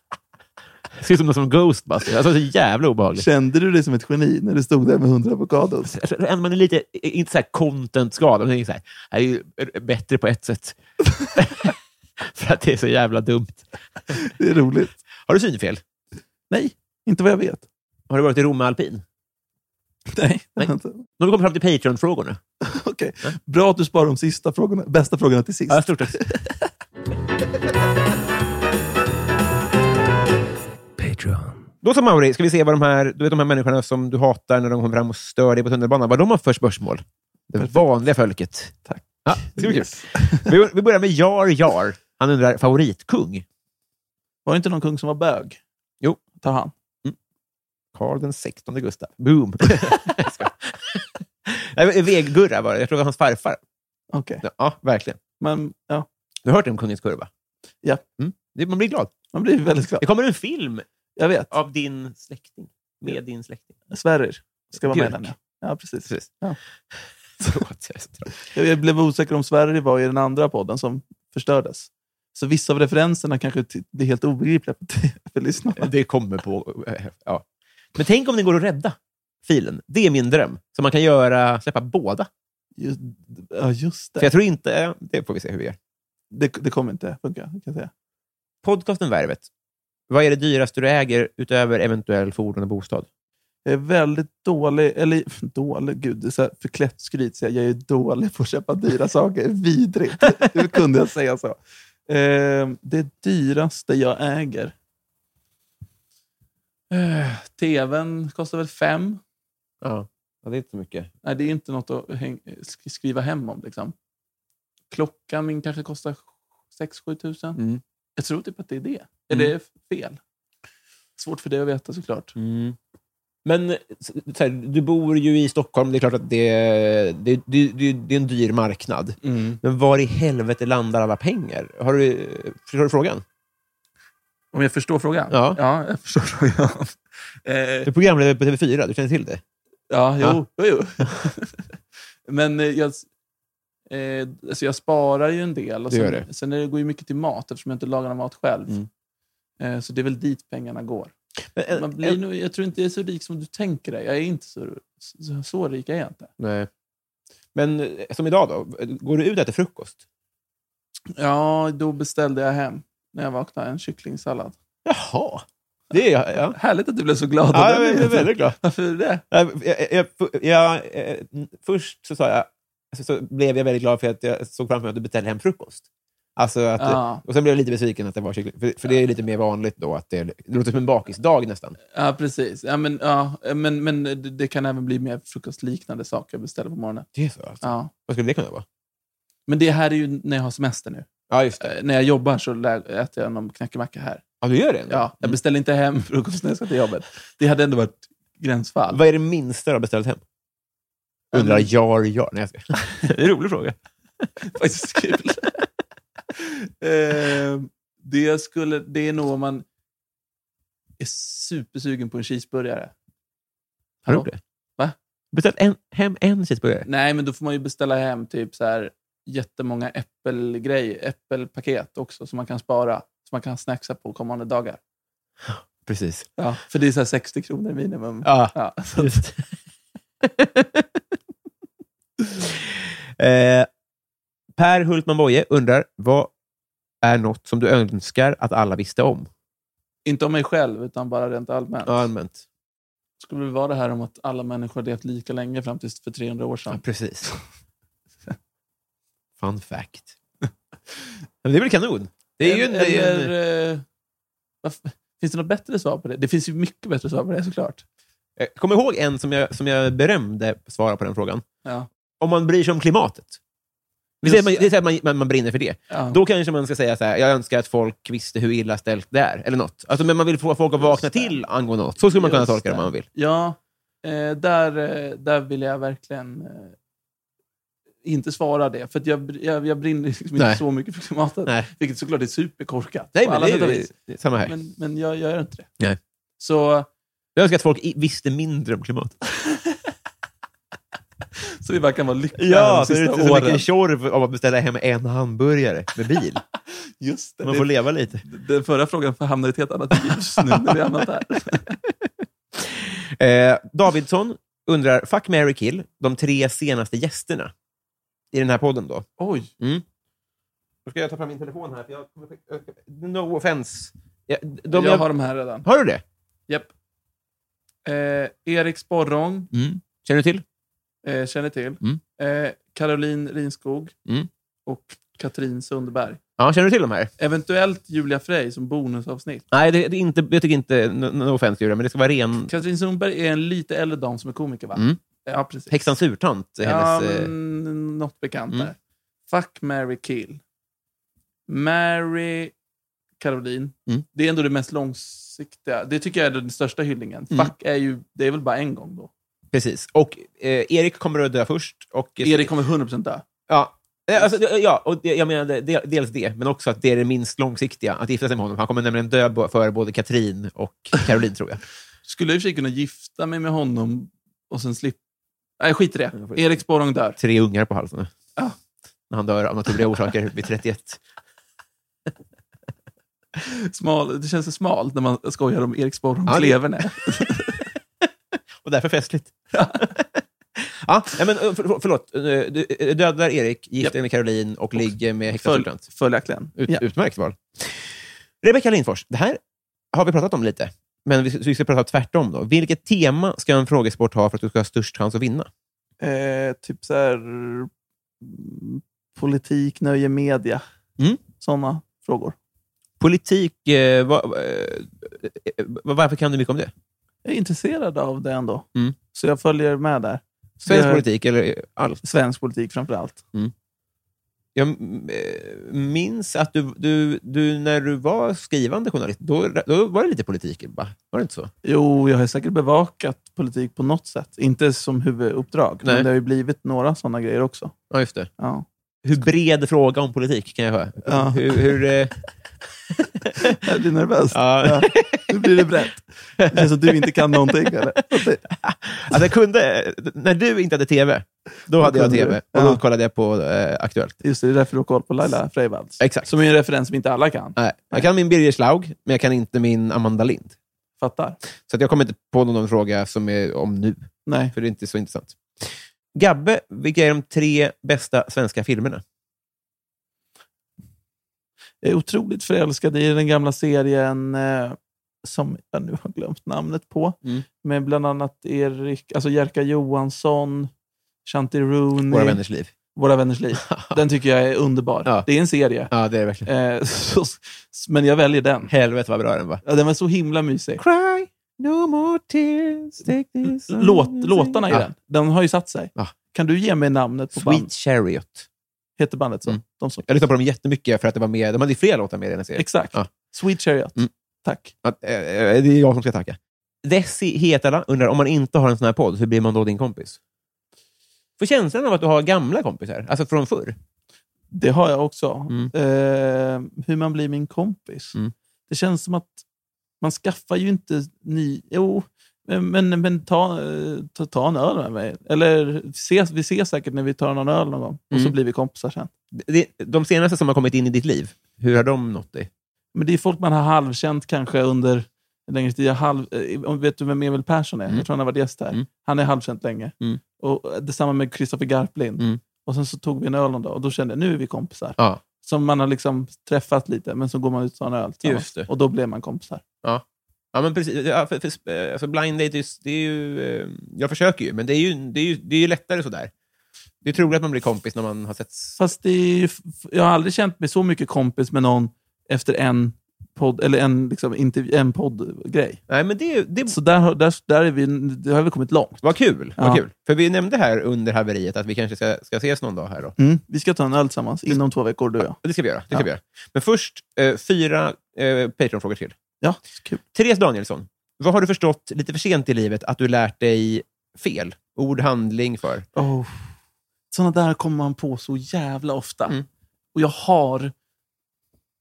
S1: Det ser ut som någon som Ghostbusters. Alltså, så jävla obehagligt.
S2: Kände du dig som ett geni när du stod där med hundra avokados?
S1: Alltså, ändå man är lite, inte så här content-skadad, men det är så här, det här är ju bättre på ett sätt. För att det är så jävla dumt.
S2: Det är roligt.
S1: Har du synfel?
S2: Nej, inte vad jag vet.
S1: Har du varit i Romme Alpin?
S2: Nej.
S1: Nej. Nu har vi kommit fram till Patreon-frågorna.
S2: Alltså, Okej. Bra att du sparar de sista frågorna, bästa frågorna till sist.
S1: Ja, stort tack. Då så Mauri, ska vi se vad de här, du vet de här människorna som du hatar när de kommer fram och stör dig på tunnelbanan, vad de har för spörsmål? Det vanliga folket.
S2: Tack.
S1: Ja, det ska bli kul. Vi- Vi börjar med Jar Jar. Han undrar favoritkung.
S2: Var det inte någon kung som var bög?
S1: Jo.
S2: Ta han.
S1: Karl den 16 Gustav. Boom! Jag skojar. Nej, men Veggurra var det. Jag tror det var hans farfar.
S2: Okej.
S1: Ja, verkligen.
S2: Men ja,
S1: Du har hört om Kungens kurva?
S2: Ja.
S1: Mm. Det- Man blir glad.
S2: man blir väldigt glad.
S1: Det kommer en film
S2: Jag vet.
S1: av din släkting. Med din släkting.
S2: Sverrir ska vara med i
S1: Björk.
S2: den. Ja, ja precis.
S1: Precis.
S2: Ja.
S1: Förlåt, jag är så trött.
S2: Jag, jag blev osäker om Sverrir var i den andra podden som förstördes. Så vissa av referenserna kanske t- blir helt obegripliga för- för lyssnarna.
S1: Det kommer på... eh, Ja. Men tänk om det går att rädda filen. Det är min dröm. Så man kan göra, släppa båda.
S2: Just, ja, just
S1: För
S2: det.
S1: jag tror inte... Det får vi se hur vi gör.
S2: det. Det kommer inte funka, kan jag säga.
S1: Podcasten Värvet. Vad är det dyraste du äger utöver eventuell fordon och bostad?
S2: Jag är väldigt dålig, eller dålig, gud, det är så här förklätt skryt. Så jag, jag är dålig på att köpa dyra saker. Vidrigt. Hur kunde jag säga så? Eh, det dyraste jag äger? Eh, TVn kostar väl fem?
S1: Ja. det är inte så mycket.
S2: Nej, det är inte något att häng, sk- skriva hem om. Liksom. Klockan min kanske kostar 6-7 tusen.
S1: Mm.
S2: Jag tror typ att det är det. Är
S1: Mm.
S2: det fel? Svårt för dig att veta såklart.
S1: Mm. Men så så här, du bor ju i Stockholm. Det är klart att det, det, det, det, det är en dyr marknad. Men var i helvete landar alla pengar? Har du, förstår du frågan?
S2: Om jag förstår frågan?
S1: Ja.
S2: ja jag förstår frågan. Eh,
S1: Du är programledare på TV4. Du känner till det?
S2: ja,
S1: Ja.
S2: jo. jo, jo. Men eh, jag, eh, alltså jag sparar ju en del. Och
S1: Du
S2: sen,
S1: gör Mm.
S2: sen är det, går ju mycket till mat eftersom jag inte lagar någon mat själv. Eh, så det är väl dit pengarna går.
S1: Men eh, en-
S2: Man blir nog, jag tror inte jag är så rik som du tänker dig. Jag är inte så, så, så rik är jag inte.
S1: Nej. Men eh, som idag då, går du ut och äter frukost?
S2: Ja, då beställde jag hem när jag vaknade en kycklingsallad.
S1: Jaha. Det är jag. Ja.
S2: Härligt att du blev så glad. av
S1: Ja,
S2: den
S1: jag är
S2: nyheten.
S1: väldigt glad.
S2: Varför är det?
S1: Jag, jag, jag, jag, eh, först så sa jag, så, så blev jag väldigt glad för att jag såg framför mig att du beställde hem frukost. Alltså att,
S2: Ja.
S1: Och sen blev jag lite besviken att det var kyckling. För, för det är lite mer vanligt då. Att det, det låter som en bakisdag nästan.
S2: Ja, precis. Ja, men, ja, men, men det, det kan även bli mer frukostliknande saker jag beställer på morgonen.
S1: Det är så alltså.
S2: Ja.
S1: Vad skulle det kunna vara?
S2: Men det här är ju när jag har semester nu.
S1: Ja, just det.
S2: Eh, när jag jobbar så lä- äter jag någon knäckemacka här.
S1: Ja, du gör det ändå?
S2: Ja, jag beställer inte hem frukost när jag ska till jobbet. Det hade ändå varit gränsfall.
S1: Vad är det minsta du har beställt hem?
S2: Ja,
S1: Undrar
S2: men-
S1: Jar Jar. Nej, jag skojar. Mm. Det är en rolig fråga.
S2: faktiskt kul. eh, det, jag skulle, det är nog om man är supersugen på en cheeseburgare.
S1: Har du gjort det?
S2: Va?
S1: Beställt en, hem en cheeseburgare?
S2: Nej, men då får man ju beställa hem typ så här jättemånga äppelgrej, äppelpaket också som man kan spara, som man kan snacksa på kommande dagar.
S1: Precis.
S2: Ja, för det är så här 60 kronor minimum.
S1: Ja,
S2: Ja, så att-
S1: just. eh, per Hultman Boye undrar, vad är något som du önskar att alla visste om?
S2: inte om mig själv, utan bara rent allmänt.
S1: Allmänt.
S2: Skulle det vara det här om att alla människor har levt lika länge fram tills för 300 år
S1: Ja,
S2: sedan?
S1: precis. Fun fact. Men det är väl kanon? Det är ju en, det är en,
S2: Eller, eh, varf- Finns det något bättre svar på det? Det finns ju mycket bättre svar på det såklart.
S1: jag kommer Eh, ihåg en som jag, som jag berömde svara på den frågan.
S2: Ja.
S1: Om man bryr sig om klimatet. Vi
S2: Just
S1: säger att man,
S2: det.
S1: det är så här, man, man, man brinner för det.
S2: Ja.
S1: Då kanske man ska säga så här, jag önskar att folk visste hur illa ställt det är. Eller något. Alltså, men man vill få folk att vakna
S2: det.
S1: till angående något. Så skulle man kunna
S2: Just
S1: tolka det om
S2: det.
S1: man vill.
S2: Ja, eh, där, eh, där vill jag verkligen eh, inte svara det. För att jag, br- jag, jag brinner liksom inte
S1: Nej.
S2: så mycket för klimatet.
S1: Nej.
S2: Vilket såklart är superkorkat.
S1: Nej,
S2: på
S1: men
S2: alla
S1: det
S2: sätt och
S1: är ju
S2: vis.
S1: det är samma här.
S2: men, men jag gör inte det.
S1: Nej.
S2: Så,
S1: Jag önskar att folk i, visste mindre om klimatet.
S2: så vi bara kan vara lyckliga
S1: Ja,
S2: de
S1: så det är
S2: sista
S1: inte så
S2: åren.
S1: mycket tjorv av att beställa hem en hamburgare med bil.
S2: Just det.
S1: Man får
S2: det
S1: leva lite.
S2: den förra frågan hamnar i ett helt annat ljus nu när vi har hamnat här.
S1: Eh, Davidsson undrar, fuck, Mary kill, de tre senaste gästerna i den här podden då.
S2: Oj,
S1: Mm. Då ska jag ta fram min telefon här. För jag kommer, no offense. Jag, de,
S2: jag,
S1: jag,
S2: har de här redan.
S1: har du det?
S2: Japp. Eh, Erik Sporrong,
S1: Mm. Känner du till?
S2: eh, känner till.
S1: Mm.
S2: Eh, Caroline Rinskog
S1: Mm.
S2: och Katrin Sundberg.
S1: Ja, känner du till de här?
S2: Eventuellt Julia Frey som bonusavsnitt.
S1: Nej, det, det är inte, jag tycker inte no, no offense, Julia, men det ska vara ren...
S2: Katrin Sundberg är en lite äldre dam som är komiker, va?
S1: Mm.
S2: Ja, precis.
S1: Häxans urtant är
S2: ja,
S1: hennes... eh,
S2: men, något bekant
S1: Mm.
S2: där. Fuck, Mary kill. Mary Caroline.
S1: Mm.
S2: Det är ändå det mest långsiktiga. Det tycker jag är den största hyllningen.
S1: Mm.
S2: Fuck är ju, det är väl bara en gång då.
S1: Precis. Och eh, Erik kommer att dö först. Och,
S2: Erik kommer 100% dö.
S1: Ja. Eh, Alltså, det- ja, och det, jag menade de- dels det, men också att det är det minst långsiktiga, att gifta sig med honom. Han kommer nämligen dö bo- före både Katrin och Caroline, tror jag.
S2: Skulle jag i och för sig kunna gifta mig med honom och sen slippa... Nej, skit i det. Erik Sporrong dör.
S1: Tre ungar på halsen.
S2: Ja.
S1: När han dör av naturliga orsaker vid 31.
S2: Smal, det känns så smalt när man skojar om Erik Sporrongs
S1: Ja, det-
S2: leverne.
S1: Och därför festligt. ja, nej, men, eh, för, förlåt. Eh, Du eh, dödar Erik, gifter
S2: Japp.
S1: dig med Caroline och ligger med häxans
S2: Följ,
S1: urtant.
S2: följaktligen.
S1: Ut,
S2: Ja.
S1: Utmärkt val. Rebecka Lindfors, det här har vi pratat om lite, men vi, vi ska prata tvärtom. då. Vilket tema ska en frågesport ha för att du ska ha störst chans att vinna?
S2: Eh, typ så här, mm, politik, nöje, media.
S1: Mm.
S2: Sådana frågor.
S1: Politik, eh, va, va- eh, va, varför kan du mycket om det?
S2: Jag är intresserad av det ändå,
S1: Mm.
S2: så jag följer med där. Så
S1: Svensk
S2: jag-
S1: politik eller allt?
S2: Svensk politik framför allt.
S1: Jag mm, eh, minns att du, du, du, när du var skrivande journalist, då, då var det lite politik, va? Var det inte så?
S2: Jo, jag har säkert bevakat politik på något sätt. Inte som huvuduppdrag,
S1: Nej.
S2: men det har ju blivit några sådana grejer också.
S1: Ja, just det.
S2: Ja.
S1: Hur bred fråga om politik kan jag höra?
S2: Ja.
S1: Hur, hur, eh,
S2: Är du nervös?
S1: ja.
S2: Nu blir det brett. Det känns som att du inte kan någonting. Eller?
S1: Alltså jag kunde, när du inte hade tv, då hade jag
S2: kunde
S1: tv.
S2: du.
S1: Och då
S2: Ja.
S1: kollade jag på eh, Aktuellt.
S2: Just det, det är därför du har koll på Laila Freivalds.
S1: Exakt.
S2: Som är en referens som inte alla kan.
S1: Nej. Jag kan min Birger Schlaug, men jag kan inte min Amanda Lind.
S2: Fattar?
S1: Så att jag kommer inte på någon fråga som är om nu,
S2: Nej.
S1: för det är inte så intressant. Gabbe, vilka är de tre bästa svenska filmerna?
S2: Jag är otroligt förälskad i den gamla serien eh, som jag nu har glömt namnet på.
S1: Mm.
S2: Med bland annat Erik, alltså Jerka Johansson, Shanti Rooney,
S1: Våra vänners liv.
S2: Våra vänners liv. Den tycker jag är underbar.
S1: Ja.
S2: Det är en serie,
S1: Ja, det är det verkligen.
S2: eh, så, men jag väljer den.
S1: Helvete vad bra den var.
S2: Ja, den var så himla mysig.
S1: Cry, no more tears, take this
S2: Låt,
S1: on-
S2: låtarna i
S1: Ja.
S2: den, den har ju satt sig.
S1: Ja.
S2: Kan du ge mig namnet på
S1: Sweet
S2: band?
S1: Chariot.
S2: Heter bandet så?
S1: Mm.
S2: De som,
S1: Jag lyssnade på dem jättemycket för att det var med, de hade ju flera låtar med i den här serien.
S2: exakt.
S1: Ja.
S2: Sweet Chariot.
S1: Mm.
S2: Tack.
S1: Att, eh, eh, det är jag som ska tacka. Desi Hetala undrar, om man inte har en sån här podd, hur blir man då din kompis? Får känslan av att du har gamla kompisar, alltså från förr.
S2: Det har jag också.
S1: Mm.
S2: Eh, hur man blir min kompis.
S1: Mm.
S2: Det känns som att man skaffar ju inte ny... Jo, Eh, Men, men ta, eh, ta, ta en öl med mig. Eller ses, vi ses säkert när vi tar någon öl någon gång. Och så
S1: Mm.
S2: blir vi kompisar sen.
S1: Det- De senaste som har kommit in i ditt liv, hur har de nått dig?
S2: Men det är folk man har halvkänt kanske under en längre tid. Jag halv, eh, om- vet du vem Emil Persson är?
S1: Mm.
S2: Jag tror han har varit gäst här.
S1: Mm.
S2: Han är halvkänt länge.
S1: Mm.
S2: Och eh, detsamma med Kristoffer Garplind.
S1: Mm.
S2: Och sen så tog vi en öl någon dag och då kände jag nu är vi kompisar.
S1: Ja.
S2: Som man har liksom träffat lite, men så går man ut och tar en öl tillsammans.
S1: Just det.
S2: Och då blev man kompisar.
S1: Ja, men precis. Ja, för, för, eh, alltså blind date, är ju- det är ju... eh, Jag försöker ju, men det är ju, det är ju, det är ju lättare sådär. Det är troligt att man blir kompis när man har sett...
S2: Fast det är ju, f- jag har aldrig känt mig så mycket kompis med någon efter en podd, eller en, liksom, intervju, en poddgrej.
S1: Nej, men det, är- det
S2: Så där, har- där, där, är vi, där har vi kommit långt.
S1: var kul.
S2: Ja.
S1: Var kul. För vi nämnde här under haveriet att vi kanske ska, ska ses någon dag här. Då.
S2: Mm. Vi ska ta en öl tillsammans inom två veckor, du och jag.
S1: Det ska vi göra. Det ska
S2: Ja.
S1: vi göra. Men först, eh, fyra eh, Patreon-frågor till.
S2: Ja, kul.
S1: Therese Danielsson, vad har du förstått lite för sent i livet att du lärt dig fel? Ord, handling, för?
S2: Oh. Såna där kommer man på så jävla ofta.
S1: Mm.
S2: Och jag har,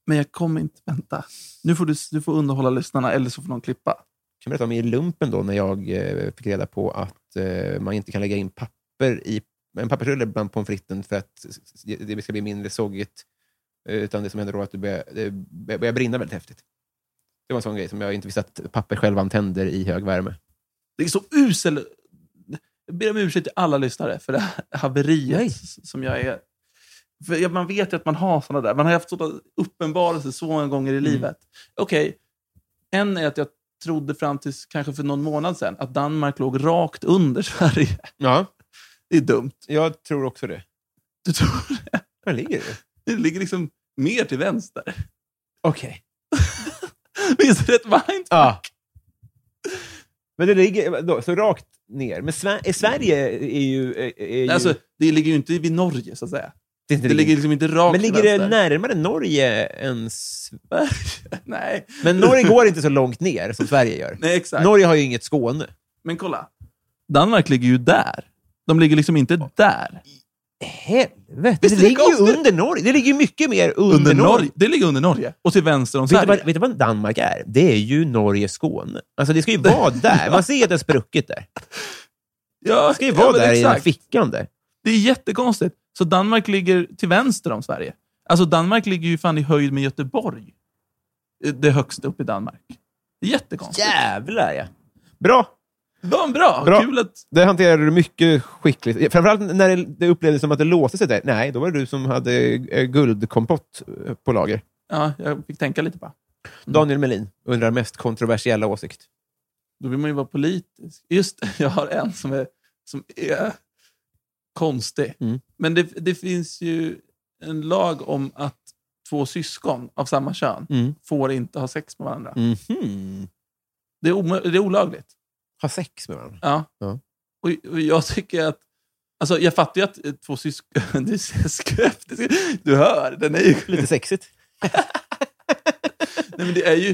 S2: men jag kommer inte... Vänta. Nu får du, du får underhålla lyssnarna, eller så får någon klippa.
S1: kan berätta om i lumpen då, när jag eh, fick reda på att eh, man inte kan lägga in papper i en pappersrulle bland pommes fritesen för att det ska bli mindre soggigt. Eh, Utan det som händer då är att det börjar, det börjar börjar brinna väldigt häftigt. Det var en sån grej som jag inte visste att papper själv antänder i hög värme.
S2: Det är så usel... Jag ber om ursäkt till alla lyssnare för det här haveriet som jag är. För jag- man vet ju att man har såna där. Man har haft sådana uppenbarelser så många gånger i livet. Okej, en är att jag trodde fram till kanske för någon månad sedan att Danmark låg rakt under Sverige.
S1: Ja,
S2: Det är dumt.
S1: jag tror också det.
S2: Du tror det?
S1: Var ligger det?
S2: Det ligger liksom mer till vänster.
S1: Okej.
S2: Minns du rätt mind?
S1: Ja. Men det ligger eh, då, så rakt ner. Men Sve- eh, Sverige är ju... Är, är ju
S2: Alltså, det ligger ju inte vid Norge, så att säga.
S1: det, är inte
S2: Det ligger liksom inte
S1: Men
S2: rakt till
S1: ligger det
S2: vänster.
S1: närmare Norge än Sverige?
S2: Nej.
S1: Men Norge går inte så långt ner som Sverige gör.
S2: Nej, exakt.
S1: Norge har ju inget Skåne.
S2: Men kolla. Danmark ligger ju där. De ligger liksom inte där.
S1: Helvete!
S2: Visst
S1: Det
S2: är det
S1: ligger ju
S2: konstigt?
S1: under Norge. Det ligger ju mycket mer under,
S2: Under Norge.
S1: Norge.
S2: Det ligger under Norge. Och till vänster om
S1: Vet du,
S2: Sverige.
S1: vad, vet du vad Danmark är? Det är ju Norge-Skåne. Alltså, det ska ju vara där. Man ser ju att det har spruckit där.
S2: Ja,
S1: Det ska ju vara
S2: men
S1: där i den här
S2: exakt.
S1: fickan där.
S2: Det är jättekonstigt. Så Danmark ligger till vänster om Sverige. Alltså Danmark ligger ju fan i höjd med Göteborg. Eh, Det högsta upp i Danmark. Det är jättekonstigt.
S1: Jävlar, ja. Bra!
S2: Yeah. Bra.
S1: Bra.
S2: Kul att...
S1: Det hanterade du mycket skickligt. Framförallt när det- det upplevdes som att det låste sig där. Nej, då var det du som hade eh, guldkompott eh, på lager.
S2: Ja, jag fick tänka lite på.
S1: Daniel Melin undrar mest kontroversiella åsikt.
S2: Då vill man ju vara politisk. Just det, jag har en som är, som är konstig.
S1: Mm.
S2: Men det, det finns ju en lag om att två syskon av samma kön
S1: Mm.
S2: får inte ha sex med varandra. Hmm.
S1: Mhm.
S2: Det, är omö- det är olagligt.
S1: Ha sex med varandra.
S2: Ja.
S1: Ja.
S2: Och, och jag tycker att... Alltså, jag fattar ju att eh, två syskon... Du ser skeptisk Du hör, den är ju...
S1: Lite sexigt.
S2: Nej, men det är ju...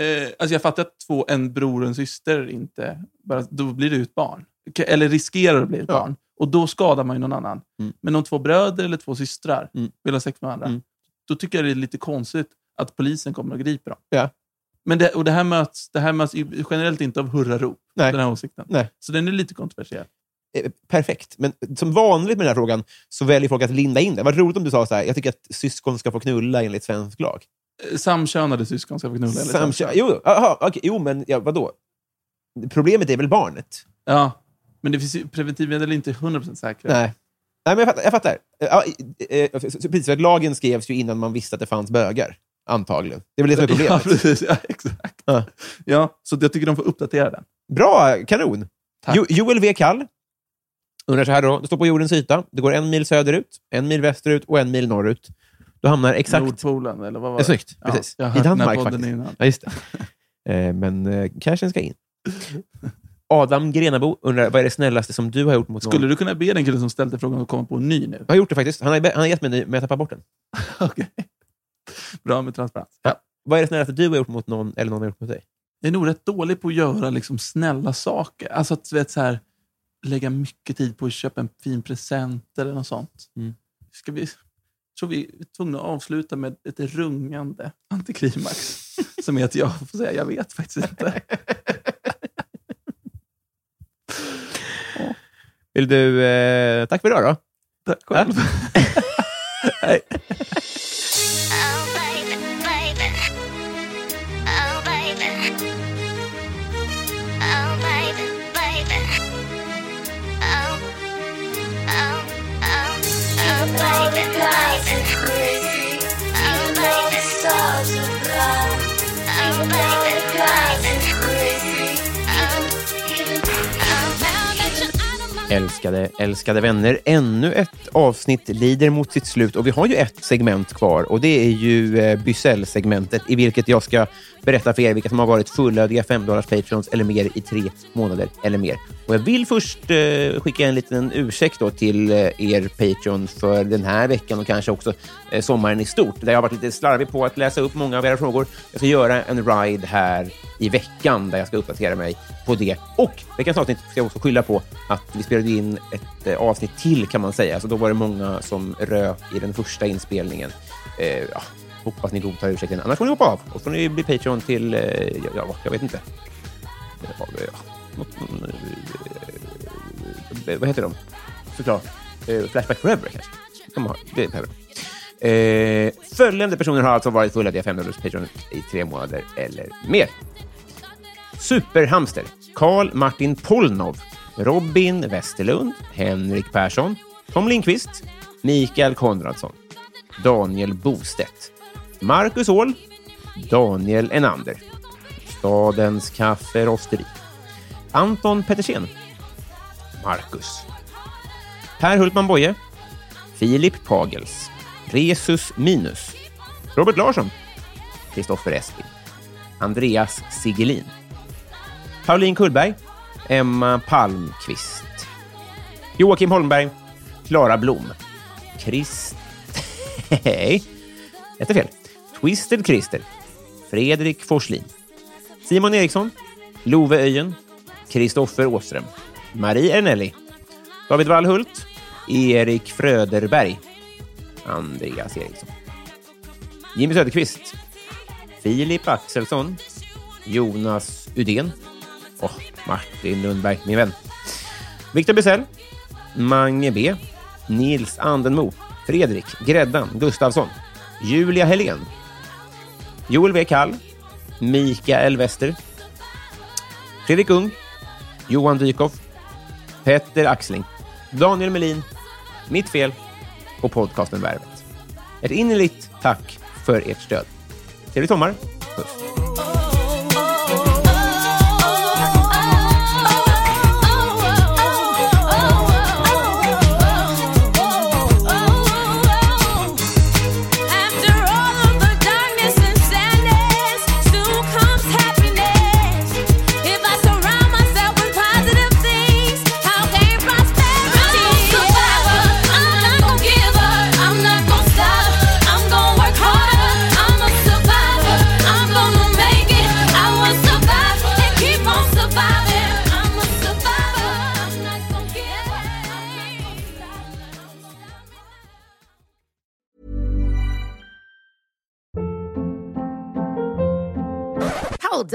S2: Eh, alltså jag fattar att två, en bror och en syster inte... Bara, då blir det ju ett barn. K- Eller riskerar att bli ett
S1: Ja.
S2: barn. Och då skadar man ju någon annan.
S1: Mm.
S2: Men om två bröder eller två systrar
S1: Mm.
S2: vill ha sex med varandra,
S1: Mm.
S2: då tycker jag det är lite konstigt att polisen kommer och griper dem.
S1: Ja.
S2: Men det, och det här möts, det här möts ju generellt inte av hurrarop,
S1: Nej.
S2: den här åsikten.
S1: Nej.
S2: Så den är lite kontroversiell.
S1: Eh, Perfekt. Men som vanligt med den här frågan så väljer folk att linda in det. Vad roligt om du sa så här, jag tycker att syskon ska få knulla enligt svensk lag.
S2: Eh, Samkönade syskon ska få knulla. eller
S1: Samkö- jo, aha, okej, jo, men ja, vadå? Problemet är väl barnet?
S2: Ja, men det finns ju, preventivmedel är inte 100% säkra.
S1: Nej. Nej, men jag fattar. Jag fattar. Eh, ja, eh, eh, så- så- Precis, för att lagen skrevs ju innan man visste att det fanns bögar. Antagligen. Det är väl det som är
S2: Ja,
S1: problemet.
S2: precis. Ja, exakt.
S1: Ja.
S2: Ja, så jag tycker de får uppdatera den.
S1: Bra, kanon!
S2: Tack.
S1: Jo, Joel V. Kall undrar så här då. Det står på jordens yta. Det går en mil söderut, en mil västerut och en mil norrut. Du hamnar exakt...
S2: Nordpolen, eller vad
S1: Ja,
S2: var det?
S1: snyggt,
S2: Ja,
S1: precis.
S2: jag har
S1: I
S2: hört den här
S1: Danmark
S2: podden
S1: faktiskt.
S2: innan.
S1: Ja, just det. Eh, Men eh, cashen ska in. Adam Grenabo undrar, vad är det snällaste som du har gjort mot någon?
S2: Skulle du kunna be den killen som ställde frågan att komma på en ny nu?
S1: Jag har gjort det faktiskt. Han har, han har gett mig en ny, men jag tappar bort den.
S2: Okej. Bra med transparens.
S1: Vad är det snällaste du har gjort mot någon eller någon har gjort mot dig?
S2: Jag är nog rätt dålig på att göra liksom snälla saker. Alltså att du vet, så här, lägga mycket tid på att köpa en fin present eller något sånt.
S1: Mm.
S2: Ska vi, jag tror vi är tvungna att avsluta med ett rungande antiklimax. som är att jag får säga, jag vet faktiskt inte.
S1: Vill du... Eh, tack för idag då.
S2: Tack själv. Nej.
S3: Oh, baby, baby. Oh, baby. Oh, baby, baby. Oh, oh, oh. Oh, baby, baby. Oh, baby, stars are bright. Oh, baby, baby. Oh, oh, baby.
S1: Älskade, älskade vänner. Ännu ett avsnitt lider mot sitt slut och vi har ju ett segment kvar och det är ju eh, Bysell-segmentet i vilket jag ska berätta för er vilka som har varit fullödiga 5 patrons eller mer i tre månader eller mer. Och jag vill först eh, skicka en liten ursäkt då till eh, er Patreon för den här veckan och kanske också eh, sommaren i stort. Där jag har varit lite slarvig på att läsa upp många av era frågor. Jag ska göra en ride här i veckan där jag ska uppdatera mig på det. Och veckans avsnitt ska jag också skylla på att vi spelade in ett eh, avsnitt till kan man säga. Så då var det många som rök i den första inspelningen. Eh, ja, hoppas ni godtar ursäkten. Annars får ni hoppa av och får ni bli Patreon till, eh, ja, ja, jag vet inte. Ja, ja, något, eh, vad heter de? Såklart. Eh, Flashback Forever kanske. De har, det behöver de. Eh, följande personer har alltså varit fullödiga 5 Patreon i tre månader eller mer. Superhamster, Karl Martin Polnov, Robin Westerlund, Henrik Persson, Tom Lindqvist, Mikael Konradsson, Daniel Bostedt, Marcus Åhl, Daniel Enander, Stadens Kafferosteri, Anton Pettersen, Marcus, Per Hultman Boye, Filip Pagels, Resus Minus, Robert Larsson, Kristoffer Esping, Andreas Sigelin, Pauline Kullberg, Emma Palmqvist, Joakim Holmberg, Klara Blom, Chris... Hej. Jättefel. Twisted Christer, Fredrik Forslin, Simon Eriksson, Love Öjen, Kristoffer Åström, Marie Ernelli, David Wallhult, Erik Fröderberg, Andreas Eriksson, Jimmy Söderqvist, Filip Axelsson, Jonas Udén och Martin Lundberg, min vän. Viktor Bysell, Mange B, Nils Andenmo, Fredrik Gräddan Gustafsson, Julia Helén, Joel W. Kall, Mikael Wester, Fredrik Ung, Johan Dykhoff, Petter Axling, Daniel Melin, Mitt Fel och podcasten Värvet. Ett innerligt tack för ert stöd. Trevlig sommar. Puss.
S3: After all of the darkness and sadness, soon comes happiness. If I surround myself with positive things, how can prosperity? I'm not gonna give up. I'm not gonna stop. I'm gonna work harder. I'm a survivor. I'm gonna make it. I will survive and keep on surviving. I'm a survivor. I'm not gonna give up.
S4: Hold